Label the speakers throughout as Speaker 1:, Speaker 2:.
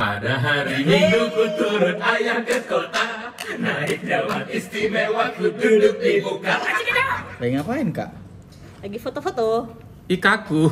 Speaker 1: Pada hari Minggu ku turun ayam ke kota Naik dalam istimewa ku duduk di muka
Speaker 2: Lagi ngapain kak?
Speaker 3: Lagi foto-foto.
Speaker 4: Ikaku.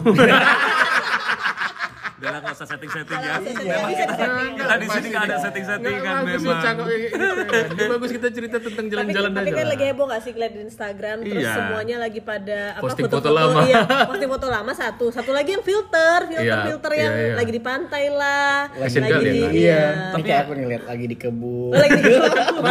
Speaker 5: Udah lah nggak usah setting-setting ya.
Speaker 3: Nggak usah setting, nggak bisa setting.
Speaker 5: Kita di sini nggak ada setting-settingan
Speaker 4: Nggak, bagus sih,
Speaker 5: memang.
Speaker 4: cakep kayak gitu, keren. Ini bagus kita cerita tentang
Speaker 3: Tapi,
Speaker 4: jalan-jalan
Speaker 3: tapi
Speaker 4: aja.
Speaker 3: kan
Speaker 4: lah.
Speaker 3: lagi heboh gak sih ngeliat di Instagram terus
Speaker 4: Iya.
Speaker 3: semuanya lagi pada
Speaker 4: Posting
Speaker 3: foto-foto,
Speaker 4: foto lama.
Speaker 3: iya, posting foto lama satu, satu lagi yang filter, filter
Speaker 4: Iya,
Speaker 3: filter
Speaker 4: iya,
Speaker 3: yang
Speaker 4: iya.
Speaker 3: lagi di pantai lah,
Speaker 4: Fashion
Speaker 3: lagi
Speaker 4: girl
Speaker 3: di
Speaker 4: ya, Kak?
Speaker 3: iya.
Speaker 2: Tapi kayak aku nih lihat lagi di kebun.
Speaker 3: Oh, lagi di
Speaker 5: Wow,
Speaker 3: Iya, iya,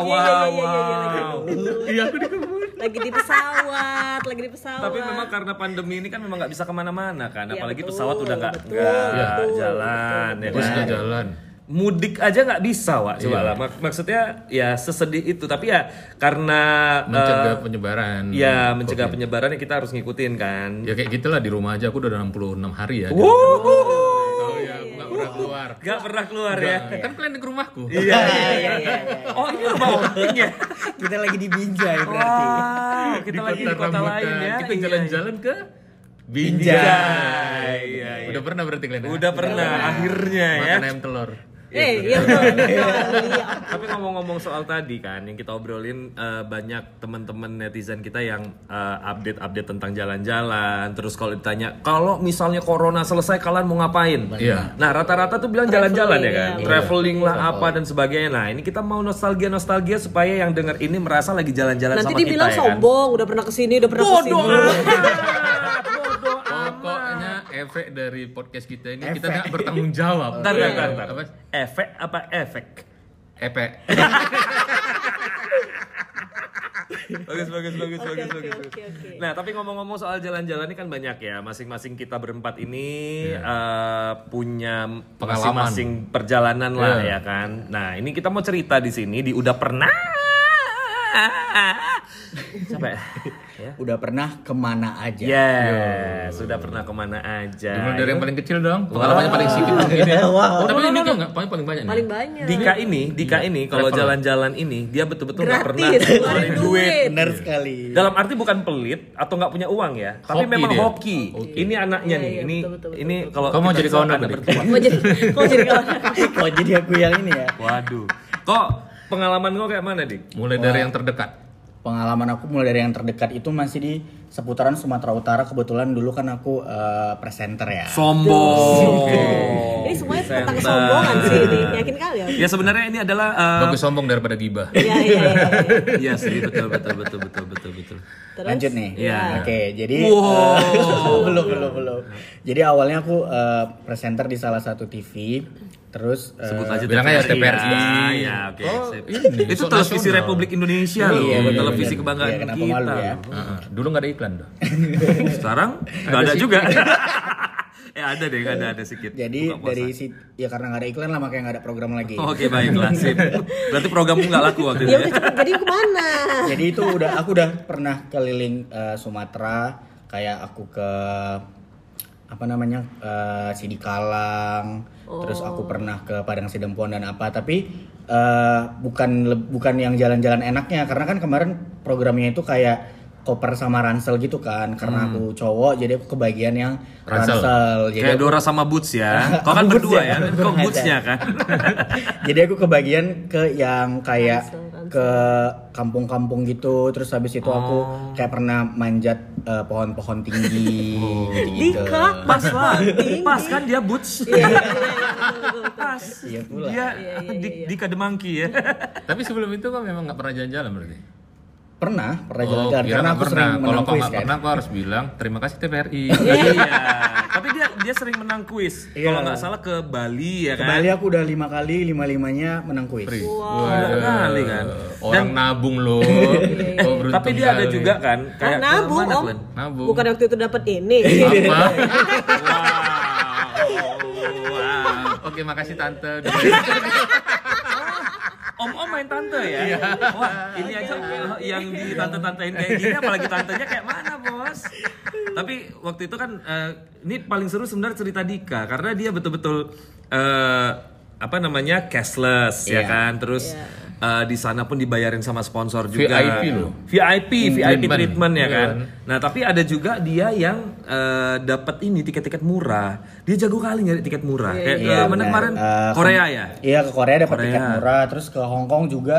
Speaker 5: wow,
Speaker 3: iya, iya, iya, lagi di
Speaker 5: wow.
Speaker 3: kebun.
Speaker 4: Iya, aku di kebun.
Speaker 3: lagi di pesawat, lagi di pesawat.
Speaker 5: Tapi memang karena pandemi ini kan memang nggak bisa kemana-mana kan,
Speaker 3: Iya,
Speaker 5: apalagi
Speaker 3: betul,
Speaker 5: pesawat udah nggak
Speaker 3: betul,
Speaker 5: nggak
Speaker 3: betul,
Speaker 5: jalan, ya
Speaker 4: Terus
Speaker 5: kan?
Speaker 4: nggak jalan.
Speaker 5: mudik aja nggak bisa Wak coba
Speaker 4: Iya.
Speaker 5: lah Mak- maksudnya ya sesedih itu tapi ya karena
Speaker 4: Mencegah
Speaker 5: eh,
Speaker 4: penyebaran.
Speaker 5: ya mencegah
Speaker 4: Covid.
Speaker 5: penyebaran ya kita harus ngikutin kan
Speaker 4: Ya kayak gitulah di rumah aja aku udah 66 hari ya.
Speaker 5: Wuhuhu.
Speaker 4: Oh ya, aku nggak pernah keluar.
Speaker 5: nggak pernah keluar ya
Speaker 4: Kan kalian ke rumahku.
Speaker 5: iya
Speaker 2: Iya, iya, iya.
Speaker 5: oh ini rumah outing ya
Speaker 2: Kita lagi di
Speaker 3: Oh.
Speaker 2: Binjai berarti. ya.
Speaker 5: wow kita lagi di kota
Speaker 4: Rambutan.
Speaker 5: lain ya
Speaker 4: Kita
Speaker 5: Iya,
Speaker 4: jalan-jalan ke
Speaker 5: iya.
Speaker 4: Binjai.
Speaker 5: iya iya
Speaker 4: Udah pernah berarti kalian? ya?
Speaker 5: udah pernah akhirnya ya
Speaker 4: Makan ayam telur.
Speaker 3: eh, iya betul. betul, iya.
Speaker 5: tapi ngomong-ngomong soal tadi kan yang kita obrolin eh, banyak teman-teman netizen kita yang eh, update-update tentang jalan-jalan terus kalau ditanya kalau misalnya corona selesai kalian mau ngapain
Speaker 4: Iya.
Speaker 5: nah rata-rata tuh bilang jalan-jalan ya kan
Speaker 3: Traveling, iya.
Speaker 5: traveling lah apa dan sebagainya nah ini kita mau nostalgia nostalgia supaya yang denger ini merasa lagi jalan-jalan
Speaker 3: Nanti
Speaker 5: sama kita
Speaker 3: dibilang
Speaker 5: ya kan
Speaker 3: sombong, udah pernah kesini, udah pernah kesini.
Speaker 5: bodoh amat. bodoh
Speaker 4: Pokoknya efek dari podcast kita ini kita nggak bertanggung jawab.
Speaker 5: Bentar, bentar, bentar, bentar.
Speaker 4: Apa?
Speaker 5: Iya. efek apa efek
Speaker 4: Efek.
Speaker 5: bagus bagus bagus
Speaker 3: Oke,
Speaker 5: bagus
Speaker 3: oke,
Speaker 5: bagus
Speaker 3: oke, oke.
Speaker 5: Nah, tapi ngomong-ngomong soal jalan-jalan ini kan banyak ya. Masing-masing kita berempat ini eh, punya
Speaker 4: Iya. Pengalaman. Iya.
Speaker 5: masing-masing perjalanan lah ya kan. Nah, ini kita mau cerita di sini di udah pernah. Siapa ya? Ya.
Speaker 2: Udah pernah kemana
Speaker 5: Iya.
Speaker 2: aja?
Speaker 5: Yes, sudah pernah kemana aja. Iya.
Speaker 4: Dulu Iya. dari yang paling kecil dong. Pengalamannya paling sipit mungkin ya. Tapi ini tuh nggak paling paling banyak. nih.
Speaker 3: Paling banyak.
Speaker 5: Dika ini,
Speaker 4: Iya.
Speaker 5: Dika ini kalau
Speaker 4: Travel.
Speaker 5: jalan-jalan ini dia betul-betul nggak
Speaker 3: Gratis,
Speaker 5: pernah
Speaker 3: keluarin
Speaker 5: ngeluarin
Speaker 3: duit.
Speaker 2: Benar sekali.
Speaker 5: Dalam arti bukan pelit atau nggak punya uang ya, tapi
Speaker 4: Hoki
Speaker 5: memang
Speaker 4: dia.
Speaker 5: hoki. Ini anaknya
Speaker 3: Iya,
Speaker 5: nih,
Speaker 3: iya,
Speaker 5: ini
Speaker 3: betul, betul, betul,
Speaker 5: ini kalau
Speaker 4: Kamu mau
Speaker 5: kita
Speaker 4: jadi
Speaker 5: bisa
Speaker 4: kawan
Speaker 5: ada
Speaker 4: aku, Dik?
Speaker 5: bertuah.
Speaker 3: Mau jadi, mau jadi kawan.
Speaker 2: Oh jadi aku yang ini ya.
Speaker 5: Waduh. Kok pengalaman kau kayak mana, Dik?
Speaker 4: Mulai dari yang terdekat.
Speaker 2: Pengalaman aku mulai dari yang terdekat itu masih di seputaran Sumatera Utara kebetulan dulu kan aku eh, presenter ya.
Speaker 5: Sombong.
Speaker 3: Ini
Speaker 5: Oh,
Speaker 3: semuanya tentang kesombongan sih ini. Yakin kali ya?
Speaker 5: Ya sebenarnya ini adalah eh,
Speaker 4: Bagus sombong daripada gibah.
Speaker 3: Iya, iya, iya.
Speaker 5: Iya sih, betul betul betul betul betul betul.
Speaker 3: Terus?
Speaker 2: Lanjut nih.
Speaker 5: Iya.
Speaker 2: Oke, jadi
Speaker 5: Wow.
Speaker 2: eh, belum belum belum. Jadi awalnya aku eh, presenter di salah satu TV, terus eh,
Speaker 5: Sebut aja
Speaker 4: bilang aja TPRI.
Speaker 5: Ya, ya, oke. sip.
Speaker 4: ini, sok
Speaker 5: Itu televisi
Speaker 4: nasional.
Speaker 5: Republik Indonesia loh,
Speaker 2: Iya, betul,
Speaker 5: televisi
Speaker 2: betul.
Speaker 5: kebanggaan
Speaker 2: Iya, kenapa
Speaker 5: kita.
Speaker 2: malu ya?
Speaker 4: Heeh. Ah, Dulu nggak ada iklan dong.
Speaker 5: Sekarang nggak ada juga. ya ada deh, ada ada sedikit.
Speaker 2: jadi
Speaker 5: Buka puasa. Oh,
Speaker 2: dari si ya karena nggak ada iklan lah makanya nggak ada program lagi.
Speaker 5: Oke baiklah sip. Berarti programmu nggak laku waktu itu.
Speaker 3: Ya
Speaker 5: ya?
Speaker 3: udah cepet jadi kemana?
Speaker 2: Jadi itu udah aku udah pernah keliling eh, Sumatera, kayak aku ke apa namanya eh, Sidikalang, terus aku pernah ke Padang Sidempuan dan apa, tapi eh, bukan le- bukan yang jalan-jalan enaknya, karena kan kemarin programnya itu kayak koper sama ransel gitu kan, karena aku cowok jadi aku kebagian yang
Speaker 4: Ransel.
Speaker 2: ransel, jadi
Speaker 5: Kayak
Speaker 2: aku-
Speaker 5: Dora sama Boots ya. Kau kan
Speaker 2: Aku
Speaker 5: berdua
Speaker 2: Boots
Speaker 5: ya.
Speaker 2: ya.
Speaker 5: Kau Bootsnya kan.
Speaker 2: Jadi aku kebagian ke yang kayak ke kampung-kampung gitu, terus habis itu aku
Speaker 4: Oh.
Speaker 2: kayak pernah manjat eh, pohon-pohon tinggi
Speaker 4: Oh.
Speaker 2: gitu.
Speaker 3: Dika,
Speaker 5: Pas lah. Pas kan dia Boots. Pas.
Speaker 2: Iya pula.
Speaker 5: Dia di, di Kademangki ya.
Speaker 4: Tapi sebelum itu kok memang nggak pernah jalan-jalan berarti.
Speaker 2: Pernah, pernah
Speaker 4: Oh,
Speaker 2: jalan-jalan
Speaker 4: kira
Speaker 2: karena
Speaker 4: nggak
Speaker 2: aku
Speaker 4: pernah.
Speaker 2: sering
Speaker 4: Kalau
Speaker 2: menang
Speaker 4: kau
Speaker 2: kuis
Speaker 4: nggak
Speaker 2: kan.
Speaker 4: pernah, kau harus bilang terima kasih TPRI.
Speaker 5: Iya. Tapi dia dia sering menang kuis.
Speaker 2: Iya.
Speaker 5: Kalau nggak salah ke Bali ya
Speaker 2: Ke
Speaker 5: kan.
Speaker 2: Bali aku udah lima kali, lima-limanya menang kuis.
Speaker 4: Free.
Speaker 5: Banyak kali kan.
Speaker 4: iya.
Speaker 5: Iya,
Speaker 4: Orang nabung loh. Kau beruntung
Speaker 5: Tapi dia ada
Speaker 4: kali. ya?
Speaker 5: juga kan kayak
Speaker 3: nabung,
Speaker 5: kemana,
Speaker 3: Om.
Speaker 5: Glenn?
Speaker 4: Nabung.
Speaker 3: Bukan waktu itu dapat ini.
Speaker 4: apa?
Speaker 5: Wow. Wow.
Speaker 4: Oke, makasih tante.
Speaker 5: Om-om main tante ya?
Speaker 4: Iya.
Speaker 5: Wah, ini aja yang di tante-tantein kayak gini apalagi tantenya kayak mana, Bos? Tapi waktu itu kan eh, ini paling seru sebenarnya cerita Dika karena dia betul-betul eh, apa namanya? cashless
Speaker 2: Iya.
Speaker 5: ya kan. Terus eh, di sana pun dibayarin sama sponsor juga.
Speaker 4: VIP loh.
Speaker 5: VIP, VIP
Speaker 4: treatment.
Speaker 5: treatment ya
Speaker 4: Iya.
Speaker 5: kan. Nah, tapi ada juga dia yang eh, dapat ini tiket-tiket murah. Dia jago kali nyari tiket murah. Kayak eh, mana
Speaker 2: Iya, benar.
Speaker 5: kemarin
Speaker 2: Eh,
Speaker 5: Korea
Speaker 2: ke-
Speaker 5: ya.
Speaker 2: Iya ke Korea dapat
Speaker 5: Korea. Uh,
Speaker 2: tiket murah, terus ke Hong Kong juga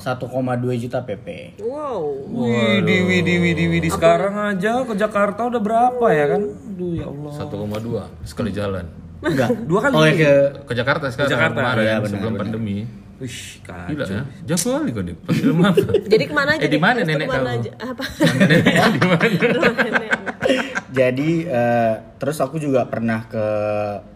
Speaker 2: 1,2 juta PP.
Speaker 3: Wow.
Speaker 5: Widi, widi, widi, widi. Sekarang aja ke Jakarta udah berapa ya kan? Aduh ya Allah.
Speaker 4: 1,2 sekali jalan.
Speaker 2: Enggak.
Speaker 5: Dua kali.
Speaker 2: Oh, ya ke
Speaker 4: Eh, Ke Jakarta sekarang
Speaker 5: Jakarta,
Speaker 4: kemarin
Speaker 2: iya, benar,
Speaker 4: sebelum
Speaker 2: benar.
Speaker 4: pandemi.
Speaker 5: Wih, kacau.
Speaker 4: Gila ya. Jago kali kok Dip. Pas di rumah.
Speaker 3: Jadi kemana aja?
Speaker 4: Eh, di
Speaker 3: Dik?
Speaker 4: mana
Speaker 3: Terus
Speaker 4: nenek
Speaker 3: kemana
Speaker 4: kamu?
Speaker 3: aja? Apa?
Speaker 4: Di mana?
Speaker 2: Jadi eh, terus aku juga pernah ke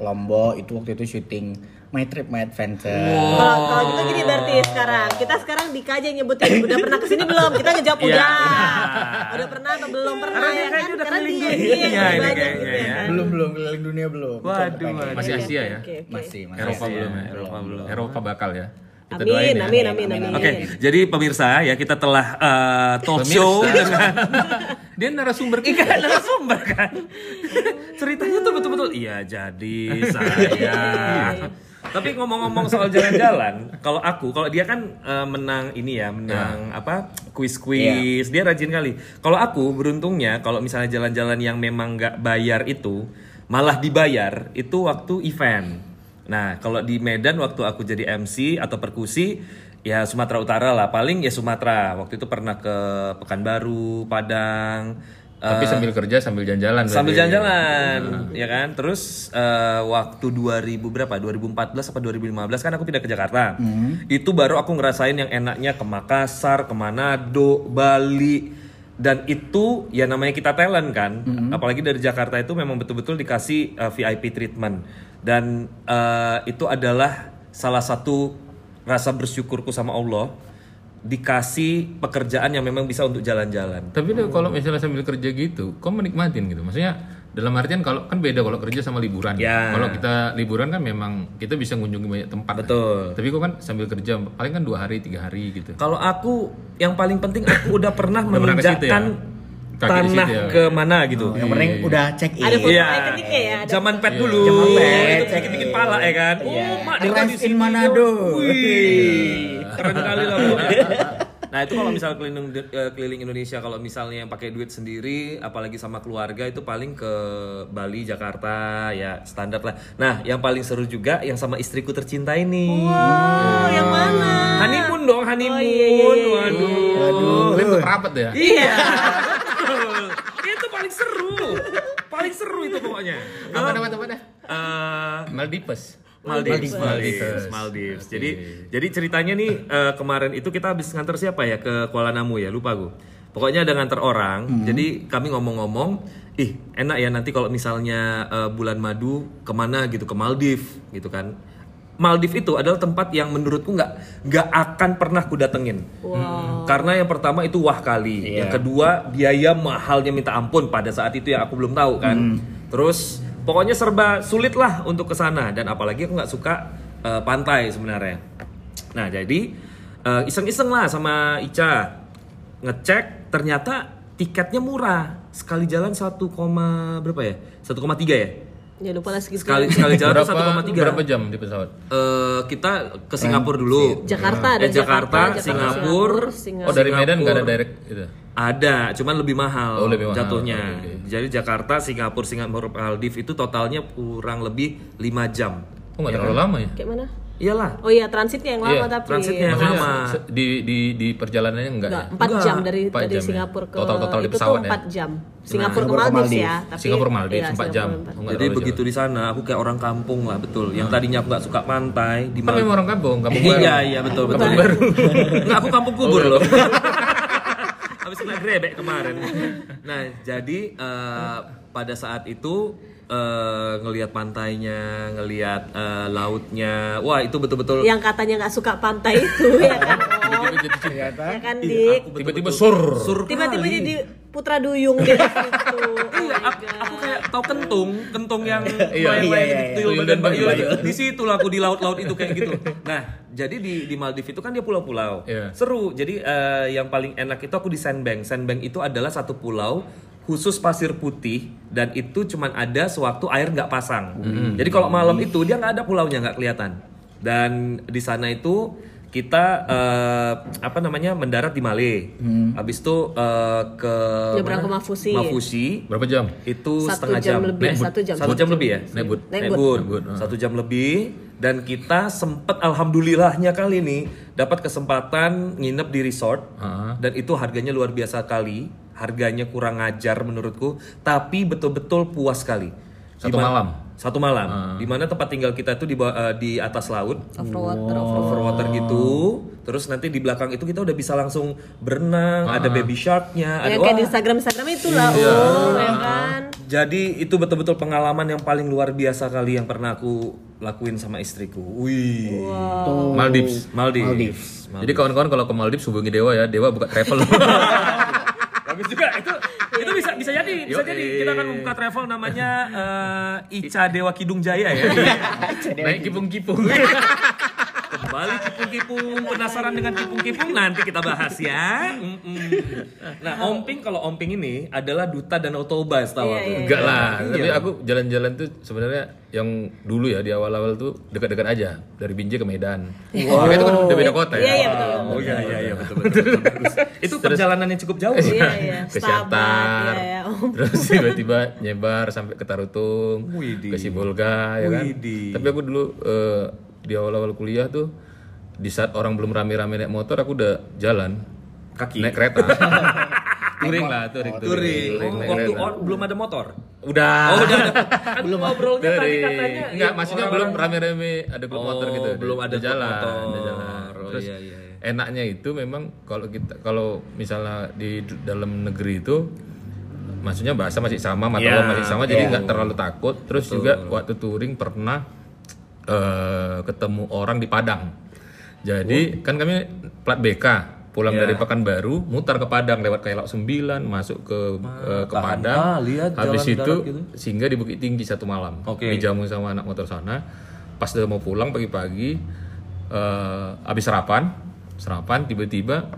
Speaker 2: Lombok itu waktu itu syuting My Trip My Adventure.
Speaker 3: Kalau kalau gitu gini berarti sekarang kita sekarang Dika aja yang nyebutin udah pernah kesini belum? Kita ngejawab udah. Udah pernah atau belum pernah
Speaker 5: Karena
Speaker 3: ya
Speaker 5: dia
Speaker 3: kan?
Speaker 5: kayaknya udah
Speaker 3: Karena
Speaker 5: keliling
Speaker 3: dia
Speaker 5: dunia
Speaker 3: dia
Speaker 5: ya,
Speaker 3: yang
Speaker 5: ini
Speaker 3: banyak
Speaker 5: kayaknya
Speaker 3: gitu ya
Speaker 5: ya.
Speaker 3: kan.
Speaker 2: Belum belum keliling dunia belum.
Speaker 5: Waduh,
Speaker 2: Pengen.
Speaker 5: waduh.
Speaker 4: Masih Asia ya?
Speaker 3: Oke, oke.
Speaker 2: Masih, masih.
Speaker 4: Eropa
Speaker 2: Asia.
Speaker 4: belum ya?
Speaker 5: Eropa belum.
Speaker 4: Eropa bakal ya. Kita
Speaker 3: Amin,
Speaker 4: doain ya.
Speaker 3: amin, amin, amin.
Speaker 5: Oke, jadi pemirsa ya kita telah eh, talk show
Speaker 4: Pemirsa.
Speaker 5: dengan
Speaker 4: Dia narasumber
Speaker 5: Iya
Speaker 4: kita.
Speaker 5: narasumber kan. Ceritanya tuh betul-betul iya jadi saya. Tapi ngomong-ngomong soal jalan-jalan, kalau aku, kalau dia kan eh, menang ini ya, menang apa? kuis-kuis. Dia rajin kali. Kalau aku beruntungnya kalau misalnya jalan-jalan yang memang nggak bayar itu malah dibayar itu waktu event. Nah, kalau di Medan waktu aku jadi MC atau perkusi ya Sumatera Utara lah, paling ya Sumatera. Waktu itu pernah ke Pekanbaru, Padang,
Speaker 4: Tapi sambil kerja sambil jalan-jalan.
Speaker 5: Eh, sambil
Speaker 4: berarti.
Speaker 5: jalan-jalan ya kan terus eh, waktu 2000 berapa 2014 apa 2015 kan aku pindah ke Jakarta itu baru aku ngerasain yang enaknya ke Makassar ke Manado Bali dan itu ya namanya kita talent kan apalagi dari Jakarta itu memang betul-betul dikasih eh, VIP treatment dan eh, itu adalah salah satu rasa bersyukurku sama Allah dikasih pekerjaan yang memang bisa untuk jalan-jalan
Speaker 4: Tapi deh, kalau misalnya sambil kerja gitu, kau menikmatin gitu. Maksudnya dalam artian kalau kan beda kalau kerja sama liburan.
Speaker 5: Ya.
Speaker 4: Kalau kita liburan kan memang kita bisa mengunjungi banyak tempat.
Speaker 5: Betul.
Speaker 4: Tapi kok kan sambil kerja paling kan dua hari tiga hari gitu.
Speaker 5: Kalau aku yang paling penting aku udah pernah
Speaker 4: Udah pernah ke situ ya?
Speaker 5: menginjakkan
Speaker 4: Kaki di
Speaker 5: tanah
Speaker 4: situ ya?
Speaker 5: ke mana gitu.
Speaker 2: Yang penting udah check in.
Speaker 3: Ada foto
Speaker 5: Iya.
Speaker 3: ikoniknya ya. Ada Iya.
Speaker 5: Zaman
Speaker 4: Iya.
Speaker 5: pet dulu.
Speaker 2: Zaman pet.
Speaker 5: Itu bikin-bikin pala ya kan. Oh, Mak Dika
Speaker 2: Arrive
Speaker 5: di
Speaker 2: in
Speaker 5: sini.
Speaker 2: Manado.
Speaker 5: Wih,
Speaker 4: Iya.
Speaker 5: keren kali lah. Bu. Nah itu kalau misal keliling eh, keliling Indonesia kalau misalnya yang pakai duit sendiri apalagi sama keluarga itu paling ke Bali Jakarta ya standar lah. Nah yang paling seru juga yang sama istriku tercinta ini.
Speaker 3: Oh, yang mana?
Speaker 5: Honeymoon
Speaker 3: Oh,
Speaker 5: dong honeymoon.
Speaker 3: iya,
Speaker 5: Waduh.
Speaker 4: Aduh, kalian tuh rapat ya.
Speaker 5: Iya. itu paling seru. Paling seru itu pokoknya.
Speaker 4: Apa nama tempatnya?
Speaker 5: Eh,
Speaker 4: Maldives. Maldives.
Speaker 5: Maldives, Maldives, Maldives. Jadi, jadi ceritanya nih eh, kemarin itu kita habis nganter siapa ya ke Kuala Namu ya, lupa gue. Pokoknya ada nganter orang. Jadi kami ngomong-ngomong, ih enak ya nanti kalau misalnya eh, bulan madu kemana gitu ke Maldives gitu kan. Maldives itu adalah tempat yang menurutku nggak nggak akan pernah ku datengin. Karena yang pertama itu wah kali,
Speaker 4: Iya.
Speaker 5: yang kedua biaya mahalnya minta ampun pada saat itu yang aku belum tahu kan.
Speaker 4: Hmm.
Speaker 5: Terus pokoknya serba sulit lah untuk ke sana dan apalagi aku nggak suka eh, pantai sebenarnya. Nah, jadi eh, iseng-iseng lah sama Ica ngecek ternyata tiketnya murah. Sekali jalan 1, koma berapa ya? 1,3 ya?
Speaker 3: Ya lupa lah segitu.
Speaker 5: Sekali sekali jalan tuh
Speaker 4: Berapa
Speaker 5: 1,3.
Speaker 4: berapa jam di pesawat?
Speaker 5: Eh, kita
Speaker 4: Eh,
Speaker 5: ke Singapura dulu.
Speaker 3: Jakarta ada
Speaker 5: Eh, Jakarta, Singapura,
Speaker 4: Oh dari Medan nggak ada
Speaker 5: Singapura.
Speaker 4: direct gitu? itu.
Speaker 5: Ada, cuman lebih mahal,
Speaker 4: Oh, iya. lebih mahal.
Speaker 5: jatuhnya.
Speaker 4: Oke.
Speaker 5: Jadi Jakarta, Singapura, Singapura, Maldives itu totalnya kurang lebih 5 jam.
Speaker 4: Kok nggak terlalu lama ya?
Speaker 3: Kayak mana?
Speaker 5: Iyalah,
Speaker 3: Oh iya, transitnya yang lama
Speaker 4: Iya,
Speaker 3: tapi.
Speaker 5: transitnya.
Speaker 4: Maksudnya
Speaker 5: lama.
Speaker 4: se- di di di perjalanannya enggak ya?
Speaker 3: Enggak, 4 jam dari
Speaker 4: Empat
Speaker 3: dari
Speaker 4: jam ya.
Speaker 3: Singapura ke
Speaker 4: Total-total di
Speaker 3: itu tuh
Speaker 4: pesawat ya?
Speaker 3: 4 jam. Singapura
Speaker 2: Singapura
Speaker 3: ke
Speaker 2: ke
Speaker 3: Maldives
Speaker 2: Maldives.
Speaker 3: ya, tapi
Speaker 4: Singapura Maldives
Speaker 3: Iya,
Speaker 4: 4
Speaker 3: Singapura
Speaker 4: jam.
Speaker 3: empat
Speaker 4: Oh, nggak
Speaker 5: jadi
Speaker 4: terlalu
Speaker 5: begitu di sana aku kayak orang kampung lah betul. Yang tadinya aku nggak suka pantai di
Speaker 4: jauh. kan memang orang kampung, kampung baru.
Speaker 5: Iya iya betul betul.
Speaker 4: Kampung baru. Oh, iya.
Speaker 5: Nggak, aku kampung kubur loh. Habis kena grebek kemarin. Nah, jadi eh, pada saat itu eh, ngelihat pantainya, ngelihat eh, lautnya. Wah, itu betul-betul
Speaker 3: Yang katanya nggak suka pantai itu ya kan.
Speaker 4: Iya,
Speaker 3: Om?
Speaker 4: gitu,
Speaker 3: Ya kan, Dik.
Speaker 4: Tiba-tiba sur.
Speaker 5: sur
Speaker 3: Tiba-tiba
Speaker 5: kali.
Speaker 3: jadi putra duyung dia di situ. Oh
Speaker 5: Iya,
Speaker 3: my
Speaker 5: aku, aku
Speaker 3: God.
Speaker 5: kayak tau kentung, kentung yang
Speaker 4: Iya,
Speaker 5: layang-layang
Speaker 2: iya,
Speaker 5: gitu,
Speaker 2: iya.
Speaker 5: tuyul
Speaker 4: Tuyul
Speaker 5: badan
Speaker 4: dan
Speaker 5: Pak Yul.
Speaker 4: bayu.
Speaker 5: Di situ lah aku di laut-laut itu kayak gitu. Nah, jadi di di Maldives itu kan dia pulau-pulau.
Speaker 4: Iya.
Speaker 5: Seru. Jadi eh, yang paling enak itu aku di sandbank. Sandbank itu adalah satu pulau khusus pasir putih dan itu cuman ada sewaktu air nggak
Speaker 2: Mm-hmm.
Speaker 5: pasang. Jadi kalau malam itu dia nggak ada pulaunya nggak kelihatan. Dan di sana itu kita eh, apa namanya mendarat di Male.
Speaker 2: Mm-hmm.
Speaker 5: Habis itu eh, ke
Speaker 3: Nyebrang ke
Speaker 5: mana?
Speaker 3: Mafusi.
Speaker 5: Mafusi
Speaker 4: Berapa jam?
Speaker 5: itu
Speaker 3: Satu
Speaker 5: setengah
Speaker 3: jam
Speaker 5: jam,
Speaker 3: lebih,
Speaker 5: Naik boot.
Speaker 3: satu jam.
Speaker 5: lebih ya
Speaker 4: Naik boot.
Speaker 3: Naik
Speaker 5: Naik
Speaker 3: boot.
Speaker 5: boot.
Speaker 4: Naik boot,
Speaker 5: satu jam lebih dan kita sempet alhamdulillahnya kali ini dapat kesempatan nginep di resort
Speaker 4: Ah.
Speaker 5: dan itu harganya luar biasa kali harganya kurang ngajar menurutku tapi betul-betul puas sekali
Speaker 4: Satu
Speaker 5: Dimana-
Speaker 4: malam?
Speaker 5: satu malam dimana tempat tinggal kita itu di bawah- eh, di atas laut
Speaker 4: Oh.
Speaker 3: Overwater,
Speaker 5: overwater gitu terus nanti di belakang itu kita udah bisa langsung berenang ada baby sharknya
Speaker 3: Yang
Speaker 5: ada
Speaker 3: Ya, kayak di
Speaker 5: wah,
Speaker 3: Instagram Instagram itu lah,
Speaker 4: Iya.
Speaker 3: oh, ya kan?
Speaker 5: jadi itu betul-betul pengalaman yang paling luar biasa kali yang pernah aku lakuin sama istriku. Wih.
Speaker 4: Maldives.
Speaker 5: Maldives.
Speaker 4: Jadi kawan-kawan kalau ke Maldives hubungi Dewa ya, Dewa buka travel.
Speaker 5: Bagus juga itu. Itu bisa bisa jadi, bisa
Speaker 4: Yoi.
Speaker 5: jadi kita akan membuka travel namanya eh, Ica Dewa Kidung Jaya ya.
Speaker 4: Naik kipung-kipung.
Speaker 5: Kembali kipung-kipung, penasaran dengan kipung-kipung nanti kita bahas ya. Mm-mm. Nah, Omping kalau Omping ini adalah duta Danau Toba
Speaker 3: Iya,
Speaker 5: setahu aku.
Speaker 3: iya.
Speaker 4: Enggak lah, tapi aku jalan-jalan tuh sebenarnya yang dulu ya di awal-awal tuh dekat-dekat aja dari Binjai ke Medan. Tapi itu kan udah beda kota ya.
Speaker 3: Iya, iya betul.
Speaker 5: Oh iya iya iya betul betul. betul, bagus. Itu perjalanan yang cukup jauh.
Speaker 3: Iya, iya.
Speaker 4: ke
Speaker 3: Stabat,
Speaker 4: Siantar,
Speaker 3: iya, iya. Om.
Speaker 4: terus tiba-tiba nyebar sampai ke Tarutung,
Speaker 5: Widih.
Speaker 4: ke Sibolga ya kan.
Speaker 5: Widih.
Speaker 4: Tapi aku dulu eh, di awal-awal kuliah tuh di saat orang belum rame-rame naik motor aku udah jalan
Speaker 5: Kaki. Oh,
Speaker 4: naik kereta. touring lah, touring.
Speaker 5: Touring.
Speaker 4: naik
Speaker 5: waktu
Speaker 4: kereta.
Speaker 5: on, belum ada motor.
Speaker 4: Udah.
Speaker 5: Oh, udah ada. Kan belum ngobrolnya tadi
Speaker 4: Touring.
Speaker 5: katanya.
Speaker 4: Enggak,
Speaker 5: ya,
Speaker 4: maksudnya belum
Speaker 5: orang-orang-
Speaker 4: rame-rame ada grup
Speaker 5: Oh,
Speaker 4: motor gitu.
Speaker 5: belum
Speaker 4: udah
Speaker 5: ada grup
Speaker 4: jalan,
Speaker 5: motor.
Speaker 4: udah jalan.
Speaker 5: Oh,
Speaker 4: Terus
Speaker 5: iya, iya, iya.
Speaker 4: enaknya itu memang kalau kita kalau misalnya di d- dalam negeri itu maksudnya bahasa masih sama, mata
Speaker 5: Iya,
Speaker 4: uang masih sama jadi nggak terlalu takut. Terus juga waktu touring pernah eh, ketemu orang di Padang. Jadi kan kami plat BK pulang
Speaker 5: Iya.
Speaker 4: dari Pekanbaru mutar ke Padang lewat Kailok 9 masuk ke eh, ke
Speaker 5: tahan.
Speaker 4: Padang.
Speaker 5: Ah, lihat
Speaker 4: habis
Speaker 5: jalan
Speaker 4: itu
Speaker 5: darat gitu.
Speaker 4: sehingga di Bukit Tinggi satu malam.
Speaker 5: Oke.
Speaker 4: Dijamu sama anak motor sana. Pas udah mau pulang pagi-pagi eh habis sarapan, sarapan tiba-tiba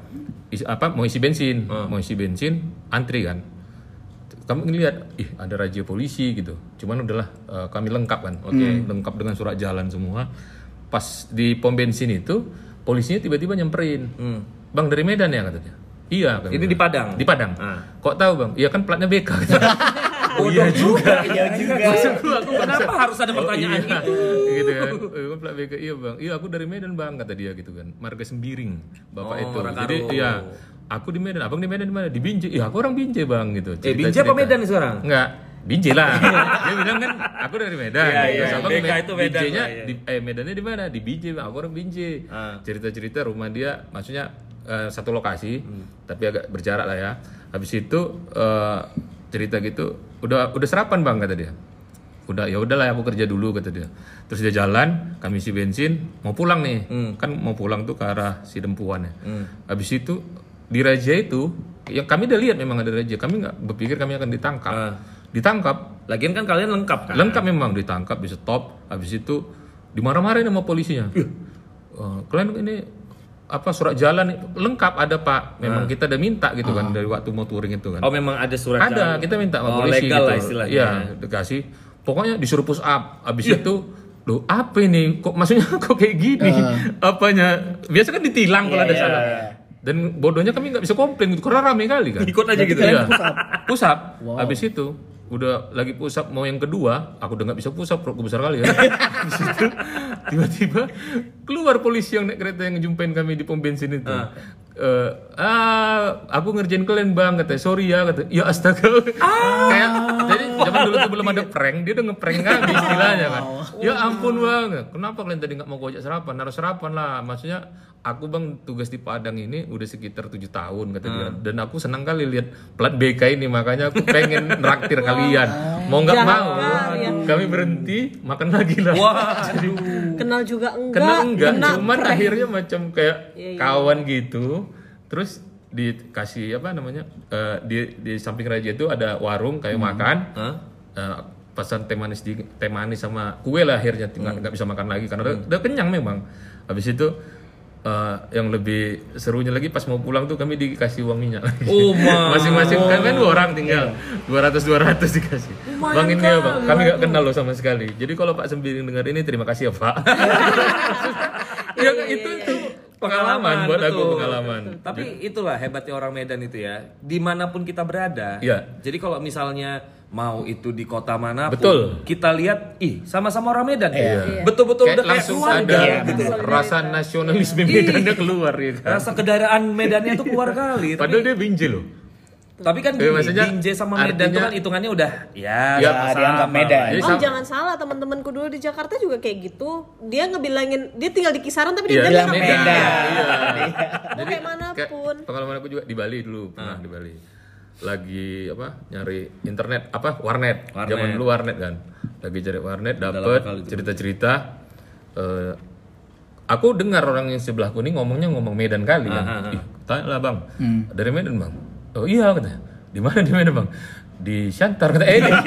Speaker 4: isi- apa mau isi bensin,
Speaker 5: Ah.
Speaker 4: mau isi bensin antri kan. Kamu ngeliat, ih ada raja polisi gitu. Cuman udahlah eh, kami lengkap kan. Oke, lengkap dengan surat jalan semua. Pas di pom bensin itu polisinya tiba-tiba nyamperin. Bang dari Medan ya katanya. Iya. kami
Speaker 5: Ini
Speaker 4: bilang.
Speaker 5: Hmm. di Padang?
Speaker 4: Di Padang.
Speaker 5: Ah.
Speaker 4: Kok tahu bang? Iya kan platnya BK. Kata.
Speaker 5: Oh, iya juga. Iya juga. Maksud gua, aku kenapa harus ada pertanyaan
Speaker 4: Oh, iya.
Speaker 5: itu?
Speaker 4: gitu kan Eh, gua plat BK iya bang iya aku dari Medan bang kata dia gitu kan marga sembiring bapak
Speaker 5: Oh,
Speaker 4: itu
Speaker 5: orang
Speaker 4: jadi
Speaker 5: Karo.
Speaker 4: iya aku di Medan abang di Medan di mana di Binjai iya aku orang Binjai bang gitu
Speaker 5: Eh, Binjai apa Medan sekarang?
Speaker 4: enggak Binjai lah dia bilang kan aku dari Medan
Speaker 5: Iya, iya,
Speaker 4: terus abang
Speaker 5: BK
Speaker 4: Med-
Speaker 5: itu Medan
Speaker 4: Binjainya
Speaker 5: lah, iya.
Speaker 4: di, eh Medannya di mana di Binjai bang aku orang Binjai
Speaker 5: Ah.
Speaker 4: cerita-cerita rumah dia maksudnya eh, satu lokasi
Speaker 5: Hmm.
Speaker 4: tapi agak berjarak lah ya habis itu eh, cerita gitu udah udah sarapan bang kata dia udah ya udahlah aku kerja dulu kata dia terus dia jalan kami isi bensin mau pulang nih
Speaker 5: Hmm.
Speaker 4: kan mau pulang tuh ke arah si dempuan ya habis itu di raja itu yang kami udah lihat memang ada raja kami nggak berpikir kami akan ditangkap
Speaker 5: Ah.
Speaker 4: ditangkap
Speaker 5: Lagian kan kalian lengkap kan?
Speaker 4: Lengkap memang ditangkap di stop, habis itu dimarah-marahin sama polisinya.
Speaker 5: Iya.
Speaker 4: Eh, kalian ini apa surat jalan lengkap ada Pak. Memang kita udah minta gitu kan dari waktu mau touring itu kan.
Speaker 5: Ah. Oh, memang ada surat
Speaker 4: ada,
Speaker 5: jalan.
Speaker 4: kita minta sama
Speaker 5: Oh,
Speaker 4: polisi
Speaker 5: legal
Speaker 4: gitu.
Speaker 5: lah istilahnya. Iya.
Speaker 4: Iya, dikasih. Pokoknya disuruh push up. Habis itu Loh, apa ini? Kok maksudnya kok kayak gini?
Speaker 5: Ah.
Speaker 4: Apanya? Biasa kan ditilang
Speaker 5: Iya,
Speaker 4: kalau ada salah. Dan bodohnya kami nggak bisa komplain gitu karena rame kali kan.
Speaker 5: Ikut aja gitu.
Speaker 4: Iya. Pusap. Habis itu udah lagi pusap mau yang kedua, aku udah nggak bisa pusap, perutku besar kali ya. Habis itu tiba-tiba keluar polisi yang naik kereta yang jumpain kami di pom bensin itu. Eh, ah, aku ngerjain kalian bang, katanya sorry ya, kata ya astaga.
Speaker 3: Ah.
Speaker 4: Kayak jadi zaman dulu tuh belum ada prank, dia udah ngeprank
Speaker 3: Ah.
Speaker 4: kami istilahnya kan. Ya ampun bang, kenapa kalian tadi nggak mau gojek sarapan? Harus sarapan lah, maksudnya aku bang tugas di Padang ini udah sekitar tujuh tahun kata
Speaker 3: Ah.
Speaker 4: dia dan aku senang kali lihat plat BK ini makanya aku pengen nraktir kalian mau nggak
Speaker 3: Jahat
Speaker 4: mau
Speaker 3: kali ya.
Speaker 4: kami berhenti makan lagi lah
Speaker 5: Waduh.
Speaker 3: Kenal juga enggak?
Speaker 4: kena enggak
Speaker 3: kena
Speaker 4: cuman
Speaker 3: prank.
Speaker 4: akhirnya macam kayak
Speaker 3: Iya, iya.
Speaker 4: kawan gitu terus dikasih apa namanya eh, di di samping raja itu ada warung kayak
Speaker 3: Hmm.
Speaker 4: makan
Speaker 5: Hah?
Speaker 4: Eh, pesan teh manis di teh manis sama kue lah akhirnya tinggal
Speaker 3: Hmm.
Speaker 4: nggak bisa makan lagi karena udah, udah kenyang memang habis itu eh, yang lebih serunya lagi pas mau pulang tuh kami dikasih uang minyak lagi.
Speaker 5: Oh, my.
Speaker 4: masing-masing kan kan dua orang
Speaker 3: Iya.
Speaker 4: tinggal 200 200 dikasih bang ini ya
Speaker 3: kan,
Speaker 4: bang kami nggak kenal loh sama sekali jadi kalau Pak Sembiring dengar ini terima kasih ya Pak ya, Iya, itu itu Pengalaman, buat aku,
Speaker 5: betul.
Speaker 4: pengalaman.
Speaker 5: Tapi itulah hebatnya orang Medan itu ya. Dimanapun kita berada.
Speaker 4: Iya.
Speaker 5: Jadi kalau misalnya mau itu di kota manapun,
Speaker 4: Betul.
Speaker 5: kita lihat, ih sama-sama orang Medan.
Speaker 4: Iya. Kayak
Speaker 5: Betul-betul
Speaker 4: ya.
Speaker 5: udah kayak
Speaker 4: langsung
Speaker 5: keluarga.
Speaker 4: ada
Speaker 5: gitu.
Speaker 4: rasa nasionalisme Medannya keluar ya kan.
Speaker 5: Rasa kedaraan Medannya tuh keluar kali. Tapi,
Speaker 4: Padahal dia binje loh.
Speaker 5: tapi kan
Speaker 4: Tapi
Speaker 5: gini,
Speaker 4: maksudnya
Speaker 5: Binjai sama Medan itu
Speaker 4: artinya-
Speaker 5: kan hitungannya udah ya,
Speaker 4: Ya,
Speaker 5: sama-sama
Speaker 2: dianggap
Speaker 5: lah.
Speaker 2: Medan.
Speaker 4: Jadi
Speaker 3: Oh
Speaker 4: sama-
Speaker 3: jangan salah teman-temanku dulu di Jakarta juga kayak gitu. Dia ngebilangin dia tinggal di kisaran tapi
Speaker 4: Iya,
Speaker 3: dia
Speaker 4: bilang
Speaker 3: bilang
Speaker 4: Medan.
Speaker 3: Medan.
Speaker 4: Iya.
Speaker 3: Mau kayak manapun.
Speaker 4: Kayak pengalaman aku juga di Bali dulu, pernah di Bali. Lagi apa? Nyari internet apa? Warnet.
Speaker 5: Warnet.
Speaker 4: Zaman dulu warnet kan. Lagi cari warnet dapet cerita-cerita eh, aku dengar orang yang sebelahku ini ngomongnya ngomong Medan kali kan. Ih, Tanya lah Bang. Dari Medan, Bang. Oh iya katanya. Di mana di Medan, Bang? Di Shantar kata eh dia bilang,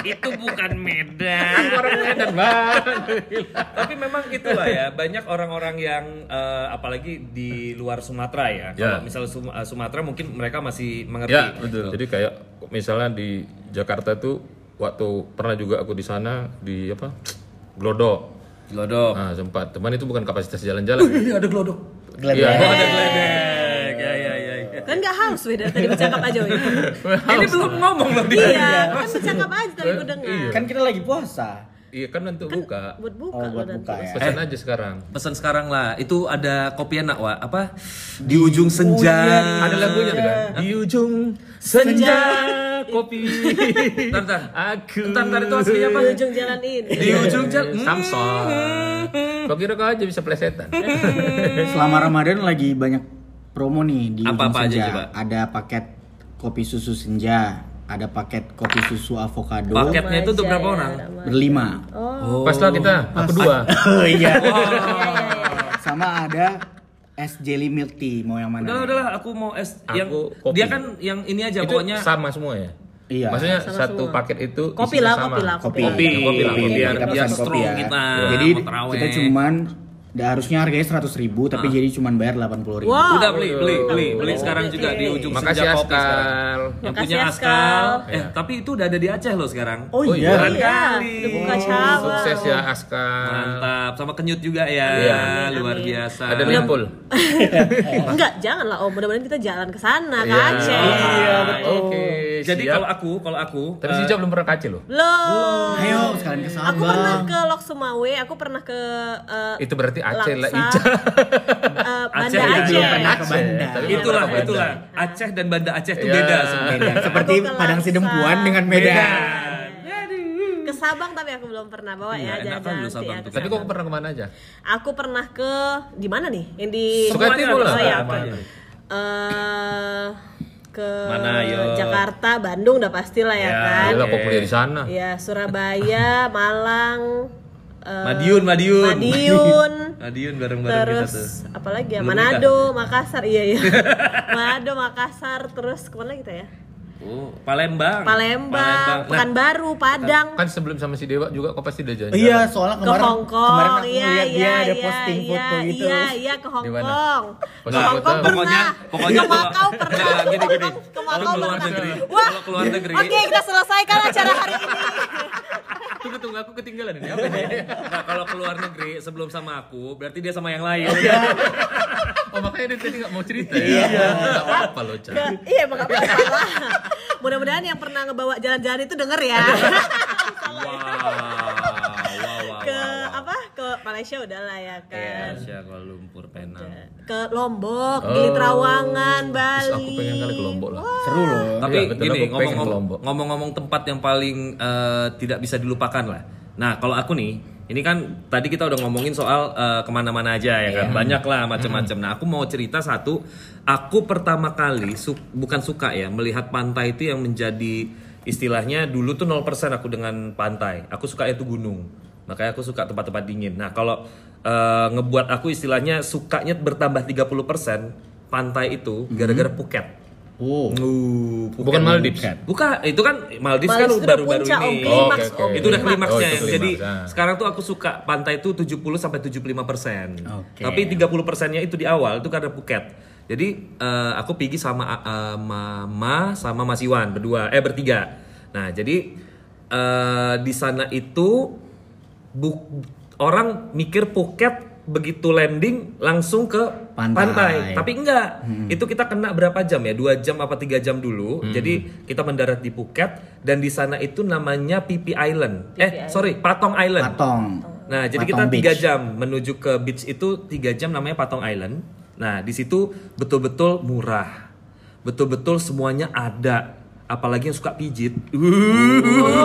Speaker 5: Itu bukan Medan.
Speaker 4: orang Medan, Bang.
Speaker 5: Tapi memang itulah ya, banyak orang-orang yang eh, apalagi di luar Sumatera ya.
Speaker 4: Ya.
Speaker 5: Kalau misalnya Sum- eh, Sumatera mungkin mereka masih mengerti.
Speaker 4: Ya, betul. Jadi kayak misalnya di Jakarta tuh waktu pernah juga aku di sana di apa? Glodok.
Speaker 5: Glodok.
Speaker 4: Nah, sempat. Teman itu bukan kapasitas jalan-jalan.
Speaker 5: Oh. Iya, ada glodok.
Speaker 4: Iya.
Speaker 5: Oh, ada gledek. Ya, ya, ya. ya.
Speaker 3: Kan nggak haus weh dari tadi bercakap aja weh.
Speaker 5: Ini belum ngomong loh dia.
Speaker 3: Iya, kan bercakap aja tadi gue dengar.
Speaker 2: Kan kita lagi puasa.
Speaker 4: Iya kan untuk buka.
Speaker 3: Buat buka
Speaker 2: Oh, buat
Speaker 3: loh
Speaker 2: buka
Speaker 3: nanti.
Speaker 2: ya.
Speaker 4: Pesan aja sekarang.
Speaker 5: Pesan sekarang lah, itu ada kopi enak, Wak. Apa? Di ujung senja.
Speaker 4: Oh, iya,
Speaker 5: Iya.
Speaker 4: Ada lagunya tuh kan. Di ujung senja kopi.
Speaker 5: Bentar, bentar.
Speaker 4: Aku.
Speaker 5: Bentar, bentar, itu aslinya apa?
Speaker 3: Di ujung jalan ini.
Speaker 4: Iya.
Speaker 5: Di ujung jalan.
Speaker 4: Samson. Kau kira kau aja bisa plesetan.
Speaker 2: Selama Ramadan lagi banyak promo nih di Ujung
Speaker 5: Apa- apa aja
Speaker 2: Senja.
Speaker 5: coba?
Speaker 2: Ada paket kopi susu senja, ada paket kopi susu avocado
Speaker 5: Paketnya itu untuk
Speaker 4: ya.
Speaker 5: berapa orang?
Speaker 2: berlima.
Speaker 4: Pas lah kita, aku dua.
Speaker 2: Oh iya. Sama ada es jelly milk tea, mau yang
Speaker 5: Udah,
Speaker 2: mana?
Speaker 5: udah lah, Nah, aku mau es
Speaker 4: Nah. Aku
Speaker 5: yang
Speaker 4: kopi.
Speaker 5: dia kan yang ini aja
Speaker 4: Itu
Speaker 5: pokoknya
Speaker 4: sama semua ya.
Speaker 2: Iya.
Speaker 4: Maksudnya
Speaker 3: Sama
Speaker 4: satu
Speaker 3: semua.
Speaker 4: paket itu
Speaker 3: Kopi
Speaker 4: isinya
Speaker 3: lah,
Speaker 4: sama.
Speaker 3: kopi lah, kopi.
Speaker 5: kopi,
Speaker 4: kopi lah, kopi,
Speaker 5: biar,
Speaker 2: kita
Speaker 5: biar
Speaker 2: pesan kopi
Speaker 5: strong
Speaker 2: ya.
Speaker 5: kita.
Speaker 2: Jadi
Speaker 5: mau terawih.
Speaker 2: kita cuman da- harusnya harganya seratus ribu tapi jadi cuman bayar delapan puluh ribu.
Speaker 3: Wow.
Speaker 5: Ah, udah beli, beli, beli, beli sekarang juga di ujung
Speaker 4: Makasih
Speaker 5: senja kopi sekarang.
Speaker 4: Askal. Iya.
Speaker 5: Yang
Speaker 3: Makasih,
Speaker 5: punya
Speaker 3: Askal.
Speaker 5: Askal. Eh, tapi itu udah ada di Aceh loh sekarang.
Speaker 2: Oh
Speaker 4: Oh
Speaker 2: iya.
Speaker 4: iya.
Speaker 3: Iya,
Speaker 5: Kali.
Speaker 3: udah buka cabang.
Speaker 4: Sukses ya Askal.
Speaker 5: Mantap, sama kenyut juga ya. Luar biasa.
Speaker 4: Iya. Ada limpul.
Speaker 3: Enggak, janganlah Om. Mudah-mudahan kita jalan ke sana, ke Aceh.
Speaker 4: Iya, betul. Oke.
Speaker 5: Jadi
Speaker 4: siap.
Speaker 5: kalau aku, kalau aku
Speaker 4: Tapi si Ica belum pernah kaci loh.
Speaker 3: Belum.
Speaker 2: Ayo sekalian ke
Speaker 3: Aku pernah
Speaker 2: Sabang.
Speaker 3: ke Lok Sumawe, aku pernah ke eh,
Speaker 4: Itu berarti Aceh lah
Speaker 3: Laksa,
Speaker 4: Ica.
Speaker 3: eh, Banda
Speaker 5: Aceh,
Speaker 4: Iya,
Speaker 5: ya,
Speaker 3: Aceh.
Speaker 5: belum pernah
Speaker 2: ke Banda.
Speaker 4: Tapi belum
Speaker 5: eh, itulah
Speaker 4: pernah ke
Speaker 5: itulah
Speaker 4: Banda.
Speaker 5: Aceh dan Banda Aceh itu
Speaker 4: Ya.
Speaker 5: beda sebenarnya.
Speaker 2: Medan. Seperti
Speaker 3: Aku ke
Speaker 2: Padang
Speaker 3: Laksa.
Speaker 2: Sidempuan dengan Medan.
Speaker 3: Ke Sabang tapi aku belum pernah bawa ya
Speaker 5: Iya, enakan
Speaker 3: jajan
Speaker 5: lu
Speaker 3: nanti
Speaker 5: Sabang
Speaker 3: ya
Speaker 5: tuh.
Speaker 3: ke
Speaker 4: Tapi
Speaker 5: Jangan.
Speaker 4: kok pernah kemana aja?
Speaker 3: Aku pernah ke di mana nih? Yang di
Speaker 4: Suka timur lah.
Speaker 3: Oh ya, oke.
Speaker 4: Kemana?
Speaker 3: Eh, ke
Speaker 5: Mana, yo?
Speaker 3: Jakarta, Bandung udah pastilah ya,
Speaker 5: Ya,
Speaker 3: kan.
Speaker 4: Yalah kok kuliah di sana.
Speaker 3: Ya, Surabaya, Malang, eh,
Speaker 5: Madiun, Madiun.
Speaker 3: Madiun.
Speaker 5: Madiun bareng-bareng kita tuh.
Speaker 3: terus apalagi ya?
Speaker 5: Belum
Speaker 3: Manado, Makassar. Iya, iya. Manado, Makassar, terus kemana kita ya?
Speaker 5: Oh, Palembang.
Speaker 3: Palembang,
Speaker 5: Nah,
Speaker 3: Pekanbaru, Padang.
Speaker 4: Kan sebelum sama si Dewa juga kok pasti udah jalan.
Speaker 2: Iya, soalnya
Speaker 3: ke
Speaker 2: kemarin
Speaker 3: Hong
Speaker 2: kemarin
Speaker 3: Kong,
Speaker 2: aku
Speaker 3: iya
Speaker 2: lihat
Speaker 3: iya
Speaker 2: dia ada
Speaker 3: iya,
Speaker 2: posting
Speaker 3: iya,
Speaker 2: foto gitu.
Speaker 3: Iya iya ke Hong
Speaker 4: Di mana?
Speaker 3: Kong. Ke
Speaker 4: Posting
Speaker 3: Hong
Speaker 4: foto.
Speaker 3: Kong
Speaker 5: Pokoknya-
Speaker 3: pernah.
Speaker 5: pokoknya
Speaker 3: ke Makau
Speaker 5: kalau-
Speaker 3: pernah.
Speaker 5: Nggak, gini, gini.
Speaker 3: Ke
Speaker 5: Kalau
Speaker 3: Makau
Speaker 5: keluar
Speaker 3: pernah.
Speaker 5: negeri-
Speaker 3: Wah.
Speaker 5: kalau keluar negeri.
Speaker 3: Oke, kita selesaikan acara hari ini.
Speaker 5: tunggu tunggu aku ketinggalan ini apa ini? Nah, kalau keluar negeri sebelum sama aku, berarti dia sama yang lain.
Speaker 4: Oh makanya dia tadi nggak mau cerita ya. Iya. apa loh, Cak.
Speaker 3: Ke- Iya, emang apa salah. Mudah-mudahan yang pernah ngebawa jalan-jalan itu denger ya.
Speaker 5: Wow, wow, wow.
Speaker 3: Ke apa? Ke Malaysia udah lah ya kan.
Speaker 5: Malaysia, Kuala Iya, Lumpur, Penang.
Speaker 3: Ke Lombok, di Trawangan,
Speaker 4: Oh. Terus
Speaker 3: Bali.
Speaker 4: aku pengen kali ke Lombok lah.
Speaker 2: Seru loh.
Speaker 5: Tapi
Speaker 4: Iya, betul,
Speaker 5: gini,
Speaker 4: aku pengen ke Lombok.
Speaker 5: ngomong-ngomong ngomong-ngomong tempat yang paling eh, tidak bisa dilupakan lah. Nah, kalau aku nih, ini kan tadi kita udah ngomongin soal eh, kemana-mana aja ya
Speaker 4: Iya.
Speaker 5: kan, banyak lah macam-macam. Nah, aku mau cerita satu. Aku pertama kali su- bukan suka ya melihat pantai itu yang menjadi istilahnya dulu tuh 0% aku dengan pantai. Aku suka itu gunung. Makanya aku suka tempat-tempat dingin. Nah, kalau eh, ngebuat aku istilahnya sukanya bertambah 30% pantai itu gara-gara Phuket.
Speaker 2: Oh.
Speaker 5: Uh,
Speaker 4: Bukan Maldives. Oh,
Speaker 5: Bukan, itu kan Maldives
Speaker 3: Maldives
Speaker 5: kan
Speaker 3: itu udah
Speaker 5: baru-baru
Speaker 3: puncak,
Speaker 5: ini.
Speaker 3: Om. Klimaks,
Speaker 4: Oke, oke.
Speaker 3: Om.
Speaker 5: Itu udah
Speaker 4: Klimaks.
Speaker 5: klimaksnya.
Speaker 4: Oh, itu klimaks,
Speaker 5: Jadi
Speaker 4: nah.
Speaker 5: sekarang tuh aku suka pantai itu 70 sampai 75 persen.
Speaker 2: Oke.
Speaker 5: Tapi 30 persennya itu di awal itu karena Phuket. Jadi eh, aku pergi sama eh, Mama sama Mas Iwan berdua, eh bertiga. Nah jadi eh, di sana itu bu- orang mikir Phuket begitu landing langsung ke pantai.
Speaker 2: Pantai.
Speaker 5: Tapi enggak,
Speaker 2: Hmm.
Speaker 5: itu kita kena berapa jam ya? Dua jam apa tiga jam dulu. Jadi kita mendarat di Phuket dan di sana itu namanya PP Island. eh sorry, Patong Island.
Speaker 2: Patong.
Speaker 5: Nah, jadi
Speaker 2: Patong
Speaker 5: kita tiga
Speaker 2: Beach.
Speaker 5: jam menuju ke beach itu tiga jam namanya Patong Island. Nah, di situ betul-betul murah, betul-betul semuanya ada. Apalagi yang suka pijit.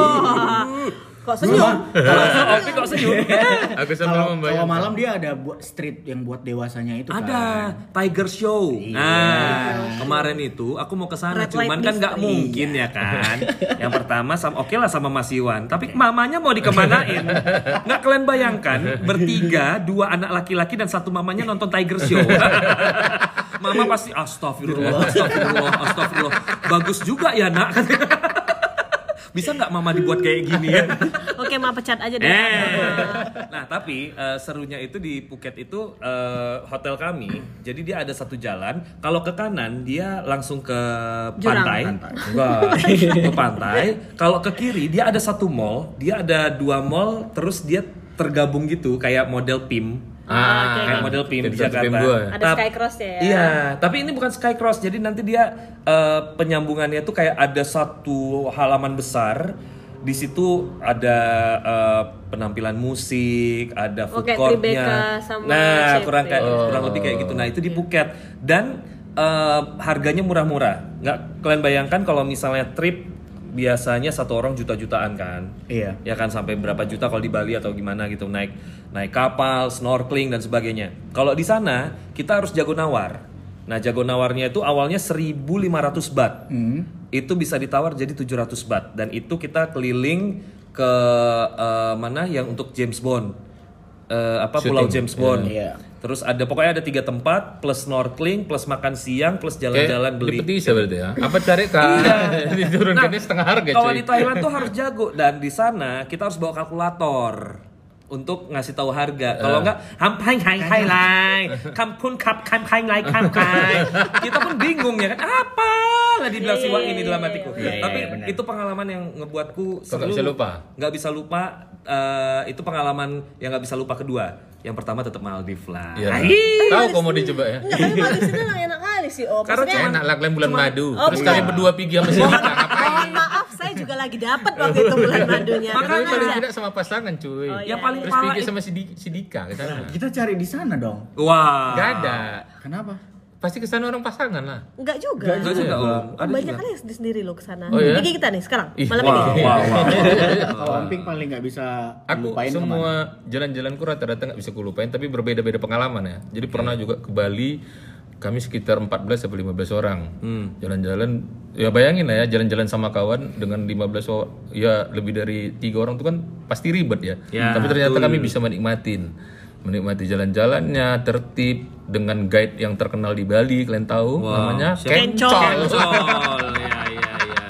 Speaker 3: Kok senyum?
Speaker 5: Oke kok senyum.
Speaker 4: Aku sambil
Speaker 2: Kalau kalau
Speaker 4: membayangkan.
Speaker 2: malam dia ada buat street yang buat dewasanya itu kan. Iya.
Speaker 5: Ada Tiger Show. Nah, kemarin itu aku mau ke sana
Speaker 3: Red light
Speaker 5: cuman kan nggak
Speaker 3: district.
Speaker 5: mungkin ya kan.
Speaker 2: Iya.
Speaker 5: Yang pertama sama oke lah sama Mas Iwan, tapi mamanya mau dikemanain? Nggak kalian bayangkan bertiga, dua anak laki-laki dan satu mamanya nonton Tiger Show. Mama pasti astagfirullah, astagfirullah, astagfirullah. Bagus juga ya, Nak. Bisa nggak mama dibuat kayak gini ya?
Speaker 3: Oke, ma pecat aja deh.
Speaker 5: Eh. Nah, tapi eh, serunya itu di Phuket itu eh, hotel kami. Jadi dia ada satu jalan, kalau ke kanan dia langsung ke
Speaker 3: Jurang.
Speaker 5: pantai. Enggak, ke pantai. Kalau ke kiri dia ada satu mall, dia ada dua mall terus dia tergabung gitu kayak model PIM.
Speaker 4: Ah,
Speaker 5: kayak model PIM di
Speaker 4: jadi satu
Speaker 5: Jakarta.
Speaker 4: PIM dua ya?
Speaker 3: Ada
Speaker 5: Tap-
Speaker 3: Skycross ya.
Speaker 5: Iya, tapi ini bukan sky cross. Jadi nanti dia eh, penyambungannya tuh kayak ada satu halaman besar. Di situ ada eh, penampilan musik, ada
Speaker 3: Oh,
Speaker 5: food
Speaker 3: kayak Tribeca
Speaker 5: courtnya.
Speaker 3: sama Iya.
Speaker 5: Nah,
Speaker 3: CP.
Speaker 5: kurang kayak kurang lebih kayak gitu. Nah, itu di Phuket dan eh, harganya murah-murah. Nggak kalian bayangkan kalau misalnya trip biasanya satu orang juta-jutaan kan
Speaker 2: Iya.
Speaker 5: ya kan sampai berapa juta kalau di Bali atau gimana gitu naik naik kapal snorkeling dan sebagainya kalau di sana kita harus jago nawar nah jago nawarnya itu awalnya 1.500 baht
Speaker 2: Hmm.
Speaker 5: itu bisa ditawar jadi 700 baht dan itu kita keliling ke eh, mana yang untuk James Bond Eh, apa Pulau James Bond
Speaker 2: Iya.
Speaker 5: terus ada pokoknya ada tiga tempat plus snorkeling plus makan siang plus
Speaker 4: Kayak
Speaker 5: jalan-jalan beli Iya. Nah,
Speaker 4: di petisa berarti ya. Apa cari kan? Diturunkannya setengah harga
Speaker 5: Kalau
Speaker 4: cuy.
Speaker 5: di Thailand tuh harus jago dan di sana kita harus bawa kalkulator untuk ngasih tahu harga.
Speaker 4: Eh.
Speaker 5: Kalau enggak, hampain hai hai lai, kampun kap kam hai lai kam kai. Kita pun bingung ya kan, apa lah di
Speaker 3: Iya,
Speaker 5: siwa
Speaker 3: iya, iya,
Speaker 5: ini dalam hatiku.
Speaker 2: iya, iya,
Speaker 5: Tapi
Speaker 2: iya, benar.
Speaker 5: itu pengalaman yang ngebuatku
Speaker 4: Kok nggak bisa lupa?
Speaker 5: Nggak bisa lupa. eh, itu pengalaman yang nggak bisa lupa kedua. Yang pertama tetap Maldives lah.
Speaker 4: Iya.
Speaker 5: Aiy.
Speaker 4: Tahu kok mau dicoba ya?
Speaker 3: Enggak, tapi Maldives itu emang enak kali sih, Om.
Speaker 5: Karena
Speaker 3: Maksudnya,
Speaker 4: Enak lah kalian bulan madu.
Speaker 3: Oh,
Speaker 4: Terus kalian berdua pergi sama si Rita.
Speaker 3: mohon Oh, maaf, saya juga lagi dapat waktu itu bulan madunya.
Speaker 4: Tapi
Speaker 3: Tenang
Speaker 4: paling
Speaker 3: aja.
Speaker 4: tidak sama pasangan cuy.
Speaker 3: Oh, iya,
Speaker 5: Yang paling
Speaker 4: Terus
Speaker 5: parah Nah.
Speaker 4: pergi
Speaker 5: itu-
Speaker 4: sama si, Di- si Dika ke sana.
Speaker 2: Kita cari di sana dong.
Speaker 5: Wah.
Speaker 4: Gak ada.
Speaker 2: Kenapa?
Speaker 4: Pasti ke sana orang pasangan lah.
Speaker 3: Enggak juga.
Speaker 5: Gak
Speaker 4: Iya.
Speaker 5: juga, Om. Ada
Speaker 3: Banyak
Speaker 5: juga.
Speaker 3: kali yang sendiri loh kesana.
Speaker 4: Oh, iya?
Speaker 3: Ini kita nih sekarang,
Speaker 4: Ih,
Speaker 3: malam
Speaker 5: Wah,
Speaker 3: ini.
Speaker 5: wah, wah.
Speaker 2: Kalau Amping paling nggak bisa
Speaker 4: Aku
Speaker 2: lupain kemana.
Speaker 4: semua jalan-jalanku rata-rata nggak bisa kulupain tapi berbeda-beda pengalaman ya. Jadi pernah juga ke Bali kami sekitar 14 sampai 15 orang.
Speaker 2: Hmm.
Speaker 4: Jalan-jalan ya bayangin lah ya jalan-jalan sama kawan dengan 15 o- ya lebih dari tiga orang itu kan pasti ribet ya.
Speaker 5: Ya,
Speaker 4: tapi ternyata kami bisa menikmatin menikmati jalan-jalannya tertib dengan guide yang terkenal di Bali kalian tahu namanya
Speaker 3: Kencol.
Speaker 5: Oh, Kencol. Ya, ya, ya.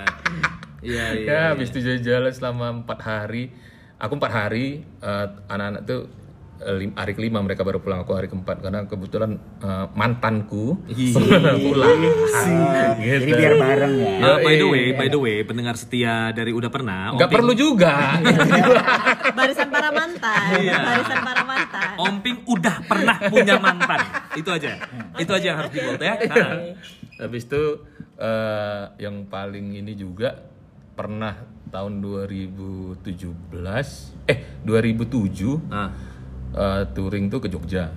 Speaker 5: Iya, iya.
Speaker 4: ya habis itu jalan-jalan selama empat hari aku empat hari eh, anak-anak tuh eh, lim- hari kelima mereka baru pulang aku hari keempat karena kebetulan eh, mantanku
Speaker 2: Iya.
Speaker 4: pulang
Speaker 2: Jadi biar bareng ya.
Speaker 5: Uh, by
Speaker 4: iya,
Speaker 5: the way, by the way, pendengar setia dari udah pernah.
Speaker 4: nggak perlu juga
Speaker 3: Barisan para mantan,
Speaker 4: Iya.
Speaker 3: barisan para mantan.
Speaker 4: Oh.
Speaker 5: Omping udah pernah punya mantan. Itu aja. Itu aja yang harus dibuat ya. Nah.
Speaker 4: habis itu eh, yang paling ini juga pernah tahun 2017 eh 2007
Speaker 5: Nah.
Speaker 4: eh, touring tuh ke Jogja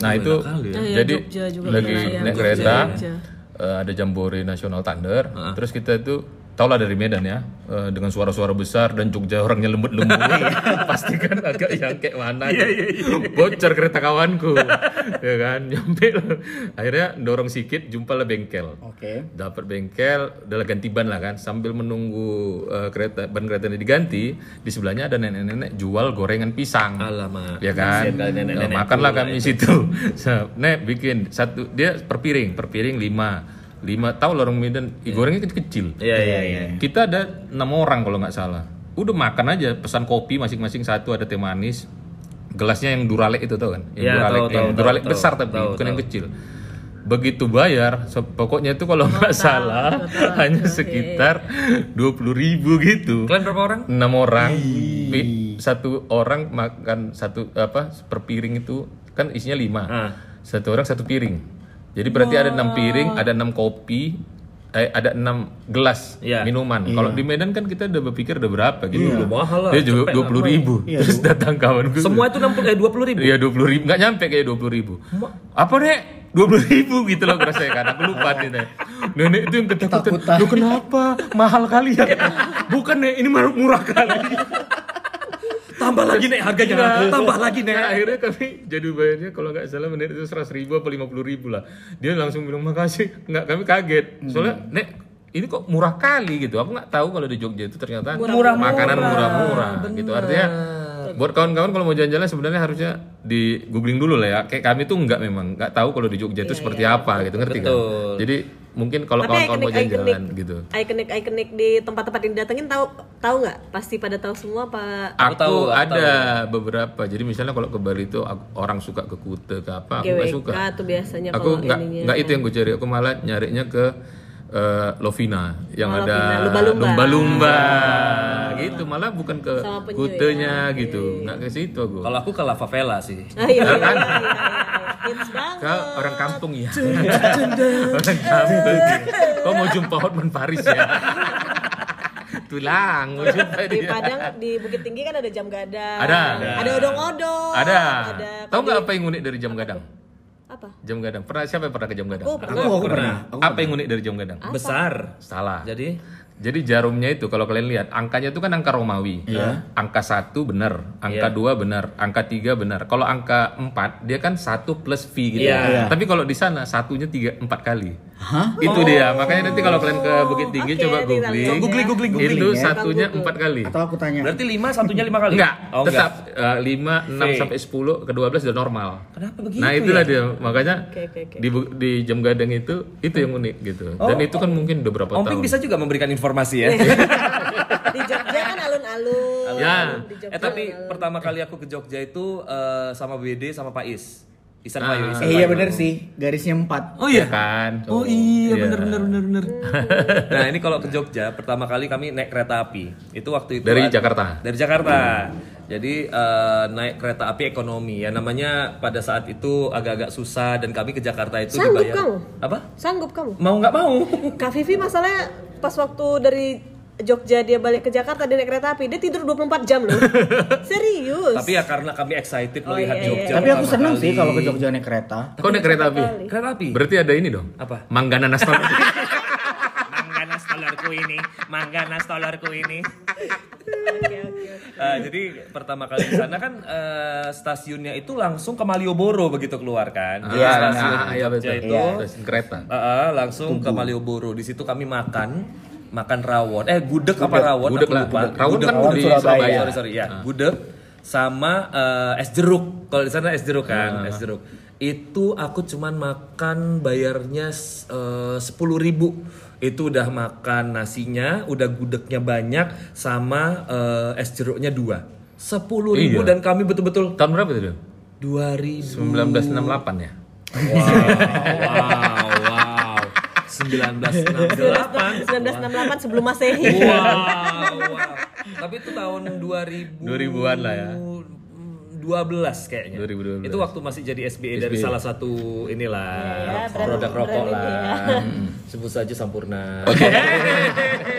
Speaker 4: nah
Speaker 5: Oh,
Speaker 4: itu
Speaker 5: enak kali ya.
Speaker 3: Oh, iya,
Speaker 4: jadi
Speaker 3: Jogja juga
Speaker 4: lagi
Speaker 3: pernah ya.
Speaker 4: naik
Speaker 3: Jogja,
Speaker 4: kereta
Speaker 3: Jogja.
Speaker 4: eh, ada jambore nasional Thunder
Speaker 5: Ah.
Speaker 4: terus kita itu taulah dari Medan ya eh, dengan suara-suara besar dan Jogja orangnya lembut-lembut
Speaker 5: Iya.
Speaker 4: pasti kan agak yang kayak mana gitu. bocor kereta kawanku ya kan nyampe lah. akhirnya dorong sikit jumpalah bengkel
Speaker 2: Oke.
Speaker 4: dapat bengkel udah ganti ban lah kan sambil menunggu eh, kereta ban keretanya diganti di sebelahnya ada nenek-nenek jual gorengan pisang
Speaker 5: Nah, Alamak.
Speaker 4: ya kan
Speaker 5: Kasihan kali nenek-nenek
Speaker 4: Eh, makanlah kami situ So, nek bikin satu dia per piring per piring lima lima tahu lah orang Medan i gorengnya kecil kecil
Speaker 5: Iya, iya, iya.
Speaker 4: kita ada enam orang kalau nggak salah udah makan aja pesan kopi masing-masing satu ada teh manis gelasnya yang duralek itu tau kan yang
Speaker 5: Ya,
Speaker 4: duralek
Speaker 5: tahu,
Speaker 4: yang
Speaker 5: tahu,
Speaker 4: duralek
Speaker 5: tahu,
Speaker 4: besar
Speaker 5: tahu,
Speaker 4: tapi
Speaker 5: tahu,
Speaker 4: bukan yang
Speaker 5: tahu.
Speaker 4: kecil begitu bayar so- pokoknya itu kalau nggak salah hanya sekitar dua puluh ribu gitu
Speaker 5: Kalian berapa orang?
Speaker 4: enam orang Pi- satu orang makan satu apa per piring itu kan isinya lima.
Speaker 5: Ah.
Speaker 4: Satu orang satu piring. Jadi berarti ada enam piring, ada enam kopi, eh, ada enam gelas
Speaker 5: Iya.
Speaker 4: minuman. Kalau di Medan kan kita udah berpikir udah berapa gitu.
Speaker 5: Udah mahal lah,
Speaker 4: Dia juga
Speaker 5: cepet
Speaker 4: dua puluh ribu. Terus datang kawan gue.
Speaker 5: Semua itu 60 eh 20 ribu.
Speaker 4: Iya dua puluh ribu, nggak nyampe kayak dua puluh ribu. Apa nek? Dua puluh ribu gitu loh gue rasanya kan, aku lupa nih Nek. Nenek itu yang ketakutan,
Speaker 2: Ketakutan.
Speaker 4: lu kenapa? Mahal kali ya? Bukan nek, ini murah, murah kali.
Speaker 5: Tambah lagi nih harganya. Tambah lagi nih.
Speaker 4: Iya. Nah, akhirnya kami jadi bayarnya kalau nggak salah menit itu seratus ribu apa lima puluh ribu lah. Dia langsung bilang makasih. Nggak kami kaget.
Speaker 5: Hmm.
Speaker 4: Soalnya nek ini kok murah kali gitu. Aku nggak tahu kalau di Jogja itu ternyata makanan murah-murah gitu. Artinya buat kawan-kawan kalau mau jalan-jalan sebenarnya harusnya di googling dulu lah ya. Kayak kami tuh nggak memang nggak tahu kalau di Jogja
Speaker 5: Iya,
Speaker 4: itu seperti apa gitu ngerti kan? Jadi mungkin kalau
Speaker 3: Tapi
Speaker 4: kawan-kawan mau
Speaker 3: ikonik-ikonik
Speaker 4: jalan-jalan gitu.
Speaker 3: ikonik-ikonik di tempat-tempat yang didatengin tahu tahu nggak? Pasti pada tahu semua pak.
Speaker 4: Aku
Speaker 5: tahu, aku
Speaker 4: ada beberapa. Jadi misalnya kalau ke Bali itu aku- orang suka ke Kute ke apa, aku nggak
Speaker 3: GWK
Speaker 4: suka.
Speaker 3: tuh biasanya
Speaker 4: aku
Speaker 3: kalau
Speaker 4: nggak
Speaker 3: ininya.
Speaker 4: nggak itu yang gue cari aku malah nyarinya ke eh, Lovina yang
Speaker 3: Oh,
Speaker 4: ada
Speaker 3: Lovina. Lumba-lumba. Ah.
Speaker 4: lumba-lumba gitu malah bukan ke
Speaker 3: Sama penyu,
Speaker 4: kutenya gitu nggak ke situ aku
Speaker 5: Kalau aku ke La Favela sih.
Speaker 3: Ah, iya, iya, iya, iya, iya. Hits banget.
Speaker 4: ke orang kampung ya orang kampung kau mau jumpa Hotman Paris ya tulang mau jumpa
Speaker 3: di
Speaker 4: dia
Speaker 3: Padang di Bukit Tinggi kan ada jam gadang.
Speaker 4: Ada.
Speaker 3: Ada odong-odong.
Speaker 4: ada
Speaker 3: Ada.
Speaker 4: tahu nggak apa yang unik dari jam gadang
Speaker 3: Apa?
Speaker 4: jam gadang pernah siapa yang pernah ke jam gadang
Speaker 3: Aku pernah.
Speaker 2: aku pernah. Aku
Speaker 4: apa yang unik dari jam gadang
Speaker 5: Besar.
Speaker 4: salah
Speaker 5: Ah. Jadi
Speaker 4: Jadi jarumnya itu kalau kalian lihat angkanya itu kan angka Romawi. Angka satu benar, angka
Speaker 5: Iya.
Speaker 4: dua benar, angka tiga benar. Kalau angka empat dia kan satu plus v gitu.
Speaker 5: Iya.
Speaker 4: Tapi kalau di sana satunya tiga empat kali.
Speaker 2: Hah?
Speaker 4: Itu dia. Makanya nanti kalau kalian ke Bukit Tinggi
Speaker 3: Oke,
Speaker 4: coba
Speaker 3: nanti
Speaker 4: googling.
Speaker 3: lihat ya. Googling,
Speaker 2: googling, googling
Speaker 4: Itu
Speaker 2: ya.
Speaker 4: satunya
Speaker 3: Google.
Speaker 4: empat kali.
Speaker 2: Atau aku tanya.
Speaker 5: berarti 5 satunya 5 kali?
Speaker 4: Iya. Enggak,
Speaker 5: Oh, enggak.
Speaker 4: tetap eh, lima, enam
Speaker 5: V.
Speaker 4: sampai sepuluh, ke dua belas udah normal.
Speaker 5: Kenapa begitu? ya?
Speaker 4: Nah itulah dia makanya
Speaker 3: Oke, oke, oke.
Speaker 4: di bu- di jam gadang itu itu yang unik gitu. Dan itu kan mungkin udah berapa
Speaker 5: Om
Speaker 4: tahun.
Speaker 5: Ping Oh, bisa gitu juga memberikan informasi ya.
Speaker 3: Di Jogja kan alun-alun.
Speaker 4: Ya.
Speaker 3: Di Jogja
Speaker 5: eh tapi pertama kali aku ke Jogja itu eh, sama BD sama Pak Is. Isan Payu, Isan
Speaker 2: Eh, iya
Speaker 5: Payu.
Speaker 2: bener sih, garisnya empat.
Speaker 5: Oh iya.
Speaker 4: kan.
Speaker 5: Oh iya
Speaker 4: Iya.
Speaker 5: bener bener bener bener. nah ini kalau ke Jogja pertama kali kami naik kereta api itu waktu itu
Speaker 4: Dari
Speaker 5: ada-
Speaker 4: Jakarta?
Speaker 5: Dari Jakarta. Jadi eh, naik kereta api ekonomi ya namanya pada saat itu agak-agak susah dan kami ke Jakarta itu
Speaker 3: Sanggup
Speaker 5: dibayar
Speaker 3: kamu?
Speaker 5: apa?
Speaker 3: Sanggup kamu?
Speaker 5: Mau nggak mau?
Speaker 3: Kak Vivi masalahnya pas waktu dari Jogja dia balik ke Jakarta dia naik kereta api dia tidur 24 jam loh serius
Speaker 5: Tapi ya karena kami excited
Speaker 3: Oh, iya,
Speaker 5: melihat
Speaker 3: iya,
Speaker 5: Jogja.
Speaker 3: iya.
Speaker 2: Tapi aku
Speaker 5: pertama
Speaker 2: seneng
Speaker 5: kali.
Speaker 2: sih kalau ke Jogja naik kereta.
Speaker 4: Kok naik kereta api?
Speaker 5: Kereta api.
Speaker 4: Berarti ada ini dong. Iya,
Speaker 5: Apa?
Speaker 4: Manggana nastar.
Speaker 5: Mangganas telurku ini, mangganas telurku ini. Eh, jadi pertama kali di sana kan eh, stasiunnya itu langsung ke Malioboro begitu keluar kan. Jadi
Speaker 4: Iya,
Speaker 5: stasiun
Speaker 4: nah, iya betul.
Speaker 5: Jogja itu
Speaker 4: Iya. Stasiun kereta.
Speaker 5: eh, eh, langsung ke Malioboro. Di situ kami makan makan rawon. Eh gudeg, apa rawon?
Speaker 4: Gudeg
Speaker 5: Aku
Speaker 4: lah,
Speaker 5: lupa.
Speaker 4: gudeg. Rawon
Speaker 5: Gudeg.
Speaker 4: kan
Speaker 2: Rawon
Speaker 4: di
Speaker 2: Surabaya.
Speaker 4: Surabaya.
Speaker 5: Sorry sorry ya. Gudeg sama eh, es jeruk. Kalau di sana es jeruk kan, es jeruk. Itu aku cuman makan bayarnya eh, sepuluh ribu. Itu udah makan nasinya, udah gudegnya banyak, sama eh, es jeruknya dua. Sepuluh ribu
Speaker 4: Iya.
Speaker 5: dan kami betul-betul
Speaker 4: Tahun berapa itu? Dok?
Speaker 5: dua ribu.
Speaker 4: 1968 ya.
Speaker 5: Wow, wow, wow. 1968.
Speaker 3: 1968 sebelum masehi
Speaker 5: Wow, wow. Tapi itu tahun 2000
Speaker 4: 2000-an lah ya.
Speaker 5: Mm, 12 kayaknya.
Speaker 4: 2012.
Speaker 5: Itu waktu masih jadi SBA, dari
Speaker 4: SBA.
Speaker 5: salah satu inilah
Speaker 3: brand-
Speaker 5: produk rokok
Speaker 3: brand
Speaker 5: lah.
Speaker 3: ini ya.
Speaker 4: Hmm.
Speaker 5: Mm. Sebut saja Sampurna. Oke.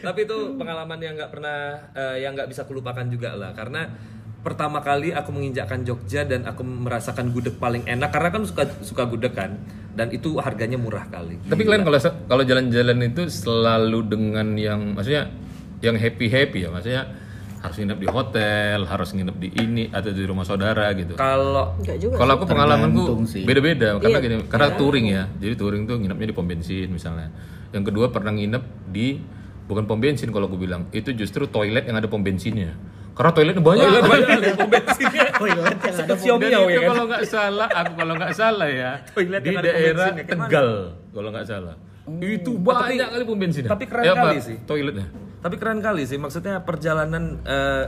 Speaker 5: Tapi itu pengalaman yang nggak pernah eh, yang nggak bisa kulupakan juga lah karena pertama kali aku menginjakkan Jogja dan aku merasakan gudeg paling enak karena kan suka suka gudeg kan dan itu harganya murah kali.
Speaker 4: Tapi kalian kalau kalau jalan-jalan itu selalu dengan yang maksudnya yang happy-happy ya, maksudnya harus nginep di hotel, harus nginep di ini atau di rumah saudara gitu.
Speaker 5: Kalau
Speaker 3: enggak juga
Speaker 4: Kalau aku
Speaker 2: Tergantung
Speaker 4: pengalamanku
Speaker 2: sih. Iya.
Speaker 4: beda-beda karena gini, karena touring ya. Jadi touring tuh nginepnya di pom bensin misalnya. Yang kedua pernah nginep di bukan pom bensin kalau aku bilang, itu justru toilet yang ada pom bensinnya. Karena toiletnya banyak.
Speaker 2: Toilet yang ada
Speaker 4: Dan
Speaker 5: Xiaomi
Speaker 4: itu kalau nggak salah, aku kalau nggak salah ya,
Speaker 5: Iya, kan? Toilet
Speaker 4: di
Speaker 5: yang ada pom
Speaker 4: daerah
Speaker 5: bensinnya, kemana?
Speaker 4: Tegal kalau nggak salah. Itu banyak kali pom bensin.
Speaker 5: tapi keren kali sih.
Speaker 4: Toiletnya.
Speaker 5: Tapi keren kali sih, maksudnya perjalanan eh,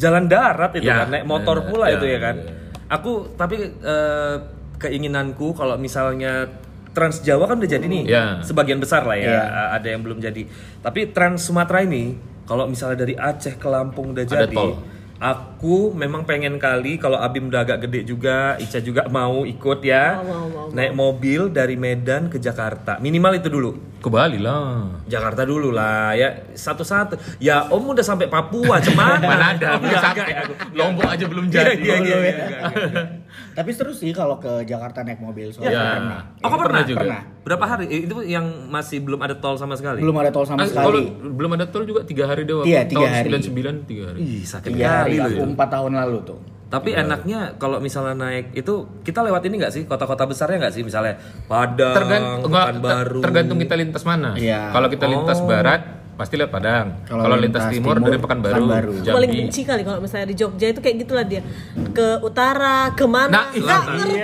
Speaker 5: jalan darat itu
Speaker 4: Ya,
Speaker 5: kan, naik motor
Speaker 4: ya,
Speaker 5: pula
Speaker 4: ya,
Speaker 5: itu ya kan.
Speaker 4: ya.
Speaker 5: Aku tapi eh, keinginanku kalau misalnya Trans Jawa kan udah jadi nih,
Speaker 4: Ya.
Speaker 5: sebagian besar lah ya, ada yang belum jadi. Tapi Trans Sumatera ini, kalau misalnya dari Aceh ke Lampung udah
Speaker 4: Ada
Speaker 5: jadi,
Speaker 4: tol.
Speaker 5: Aku memang pengen kali kalau Abim udah agak gede juga, Ica juga mau ikut ya.
Speaker 3: Mau, mau, mau,
Speaker 5: Naik mobil dari Medan ke Jakarta. Minimal itu dulu.
Speaker 4: Ke Bali lah.
Speaker 5: Jakarta dulu lah ya satu-satu. Ya Om udah sampai Papua, cuman
Speaker 4: Mana ada?
Speaker 5: Enggak,
Speaker 4: Sampai
Speaker 5: enggak, ya.
Speaker 4: Lombok aja belum
Speaker 5: Iya,
Speaker 4: jadi. Ya.
Speaker 5: iya, iya, iya, enggak, enggak.
Speaker 2: Tapi seru sih kalau ke Jakarta naik mobil soalnya kan
Speaker 4: Iya.
Speaker 2: pernah.
Speaker 5: Oh, kau pernah?
Speaker 4: juga.
Speaker 2: Pernah.
Speaker 5: Berapa hari? Eh, Itu yang masih belum ada tol sama sekali.
Speaker 2: Belum ada tol
Speaker 4: Ah,
Speaker 2: sama
Speaker 4: kalau
Speaker 2: sekali.
Speaker 4: belum ada tol juga tiga hari doang.
Speaker 2: Iya, tiga
Speaker 4: Tahun
Speaker 2: hari.
Speaker 4: 99 tiga hari.
Speaker 5: Ih, sakit
Speaker 2: Iya,
Speaker 5: kali
Speaker 2: iya,
Speaker 5: loh
Speaker 2: aku
Speaker 5: itu.
Speaker 2: empat tahun lalu tuh.
Speaker 5: Tapi
Speaker 4: Iya.
Speaker 5: enaknya kalau misalnya naik itu kita lewat ini nggak sih kota-kota besarnya nggak sih misalnya Padang,
Speaker 4: Tergan-
Speaker 3: Eh,
Speaker 4: enggak, ter-
Speaker 5: Pekanbaru.
Speaker 4: tergantung kita lintas mana.
Speaker 2: Iya.
Speaker 4: Kalau kita lintas
Speaker 3: Oh.
Speaker 4: barat pasti lihat Padang.
Speaker 2: Kalau
Speaker 4: Kalau lintas
Speaker 2: lintas
Speaker 4: timur,
Speaker 2: timur,
Speaker 4: dari Pekanbaru,
Speaker 2: Pekanbaru.
Speaker 3: Aku paling
Speaker 4: Jambi.
Speaker 3: benci kali kalau misalnya di Jogja itu kayak gitulah dia ke utara kemana
Speaker 4: Nah,
Speaker 3: nggak
Speaker 4: iya.
Speaker 3: ngerti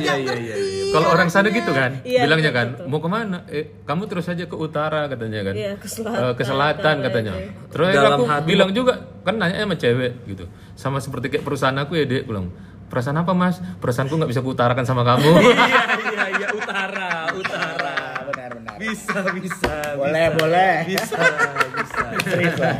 Speaker 3: nggak
Speaker 5: iya, iya,
Speaker 3: ngerti
Speaker 4: Kalau orang sana gitu kan,
Speaker 3: Iya,
Speaker 4: bilangnya
Speaker 3: gitu,
Speaker 4: kan, mau kemana? Eh, kamu terus aja ke utara katanya kan,
Speaker 3: Iya, ke selatan.
Speaker 4: Eh, ke selatan katanya. Terus akhirnya
Speaker 5: Dalam
Speaker 4: aku
Speaker 5: hati.
Speaker 4: bilang juga, kan nanya sama cewek gitu, sama seperti kayak perusahaan aku ya dek, bilang perasaan apa mas? Perasaanku nggak bisa kuutarakan sama kamu.
Speaker 5: iya, iya, iya, utara, utara.
Speaker 2: Ah, benar benar.
Speaker 5: Bisa, bisa.
Speaker 2: Boleh, boleh.
Speaker 5: Bisa, bisa.
Speaker 2: Serius lah.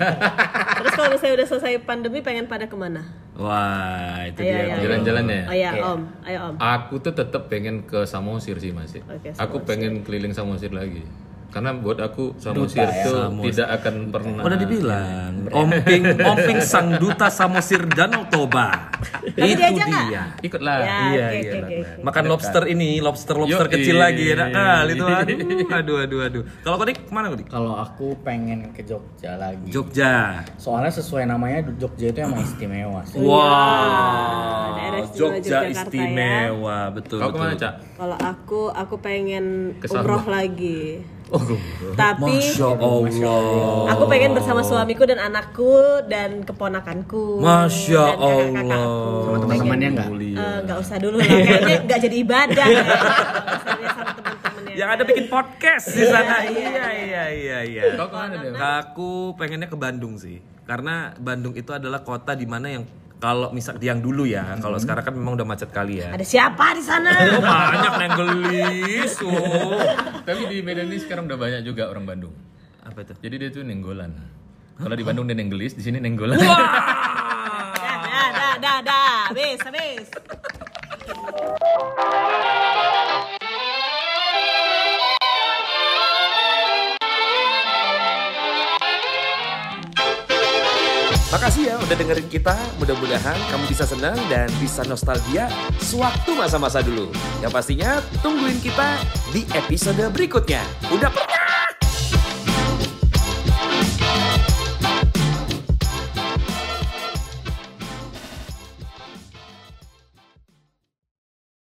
Speaker 3: terus kalau misalnya udah selesai pandemi pengen pada kemana
Speaker 5: Wah, itu
Speaker 3: Ayo,
Speaker 5: dia.
Speaker 3: ayo,
Speaker 5: tuh.
Speaker 3: ayo.
Speaker 4: Jalan-jalan ya.
Speaker 3: oh ya om ayo om
Speaker 4: Aku tuh tetap pengen ke Samosir sih masih.
Speaker 3: Oke,
Speaker 4: aku pengen keliling Samosir lagi. Karena buat aku Samosir
Speaker 2: Duta ya,
Speaker 4: tuh
Speaker 5: Samosir.
Speaker 4: tidak akan pernah.
Speaker 5: Udah dibilang,
Speaker 4: iya.
Speaker 5: Om Ping, Om Ping Sang Duta Samosir Danau Toba.
Speaker 3: Tapi
Speaker 5: itu
Speaker 3: diajak nggak?
Speaker 5: dia.
Speaker 4: Ikutlah.
Speaker 3: Ya,
Speaker 5: Iya,
Speaker 3: oke,
Speaker 5: iya.
Speaker 3: oke, oke, oke.
Speaker 5: Makan lobster ini, lobster lobster
Speaker 4: Yoi.
Speaker 5: kecil lagi, enak kali itu. Aduh, aduh, aduh, aduh. Kalau Kodik kemana Kodik?
Speaker 2: Kalau aku pengen ke Jogja lagi.
Speaker 5: Jogja.
Speaker 2: Soalnya sesuai namanya Jogja itu emang istimewa sih.
Speaker 5: Wow,
Speaker 3: daerah istimewa
Speaker 5: Jogja
Speaker 3: Yogyakarta ya.
Speaker 5: istimewa, betul.
Speaker 4: Kau kemana,
Speaker 5: betul.
Speaker 4: Cak?
Speaker 3: kalau aku aku pengen
Speaker 4: Ke Sabah.
Speaker 3: umroh lagi
Speaker 4: Oh,
Speaker 3: tapi
Speaker 5: Masya Allah.
Speaker 3: Aku pengen bersama suamiku dan anakku dan keponakanku. dan
Speaker 5: Masya
Speaker 3: kakak-kakakku.
Speaker 5: Allah.
Speaker 2: Sama teman-temannya enggak?
Speaker 3: Eh, Oh. nggak usah dulu lah, kayaknya nggak jadi ibadah. ya. Misalnya sama teman-temannya.
Speaker 5: Yang ada bikin podcast di sana.
Speaker 3: Iya,
Speaker 5: Iya, iya, iya, iya.
Speaker 4: Kau kemana deh?
Speaker 5: Aku pengennya ke Bandung sih, karena Bandung itu adalah kota di mana yang kalau misal yang dulu ya, kalau sekarang kan memang udah macet kali ya.
Speaker 3: Ada siapa di sana?
Speaker 5: Oh, banyak yang gelis. Oh.
Speaker 4: Tapi di Medan ini sekarang udah banyak juga orang Bandung.
Speaker 5: Apa itu?
Speaker 4: Jadi dia tuh nenggolan. Kalau di Bandung dia nenggelis, di sini nenggolan.
Speaker 3: Dah, dah, dah, dah, dah. Habis, habis.
Speaker 5: Makasih ya udah dengerin kita. Mudah-mudahan kamu bisa senang dan bisa nostalgia sewaktu masa-masa dulu. Yang pastinya tungguin kita di episode berikutnya. Udah pernah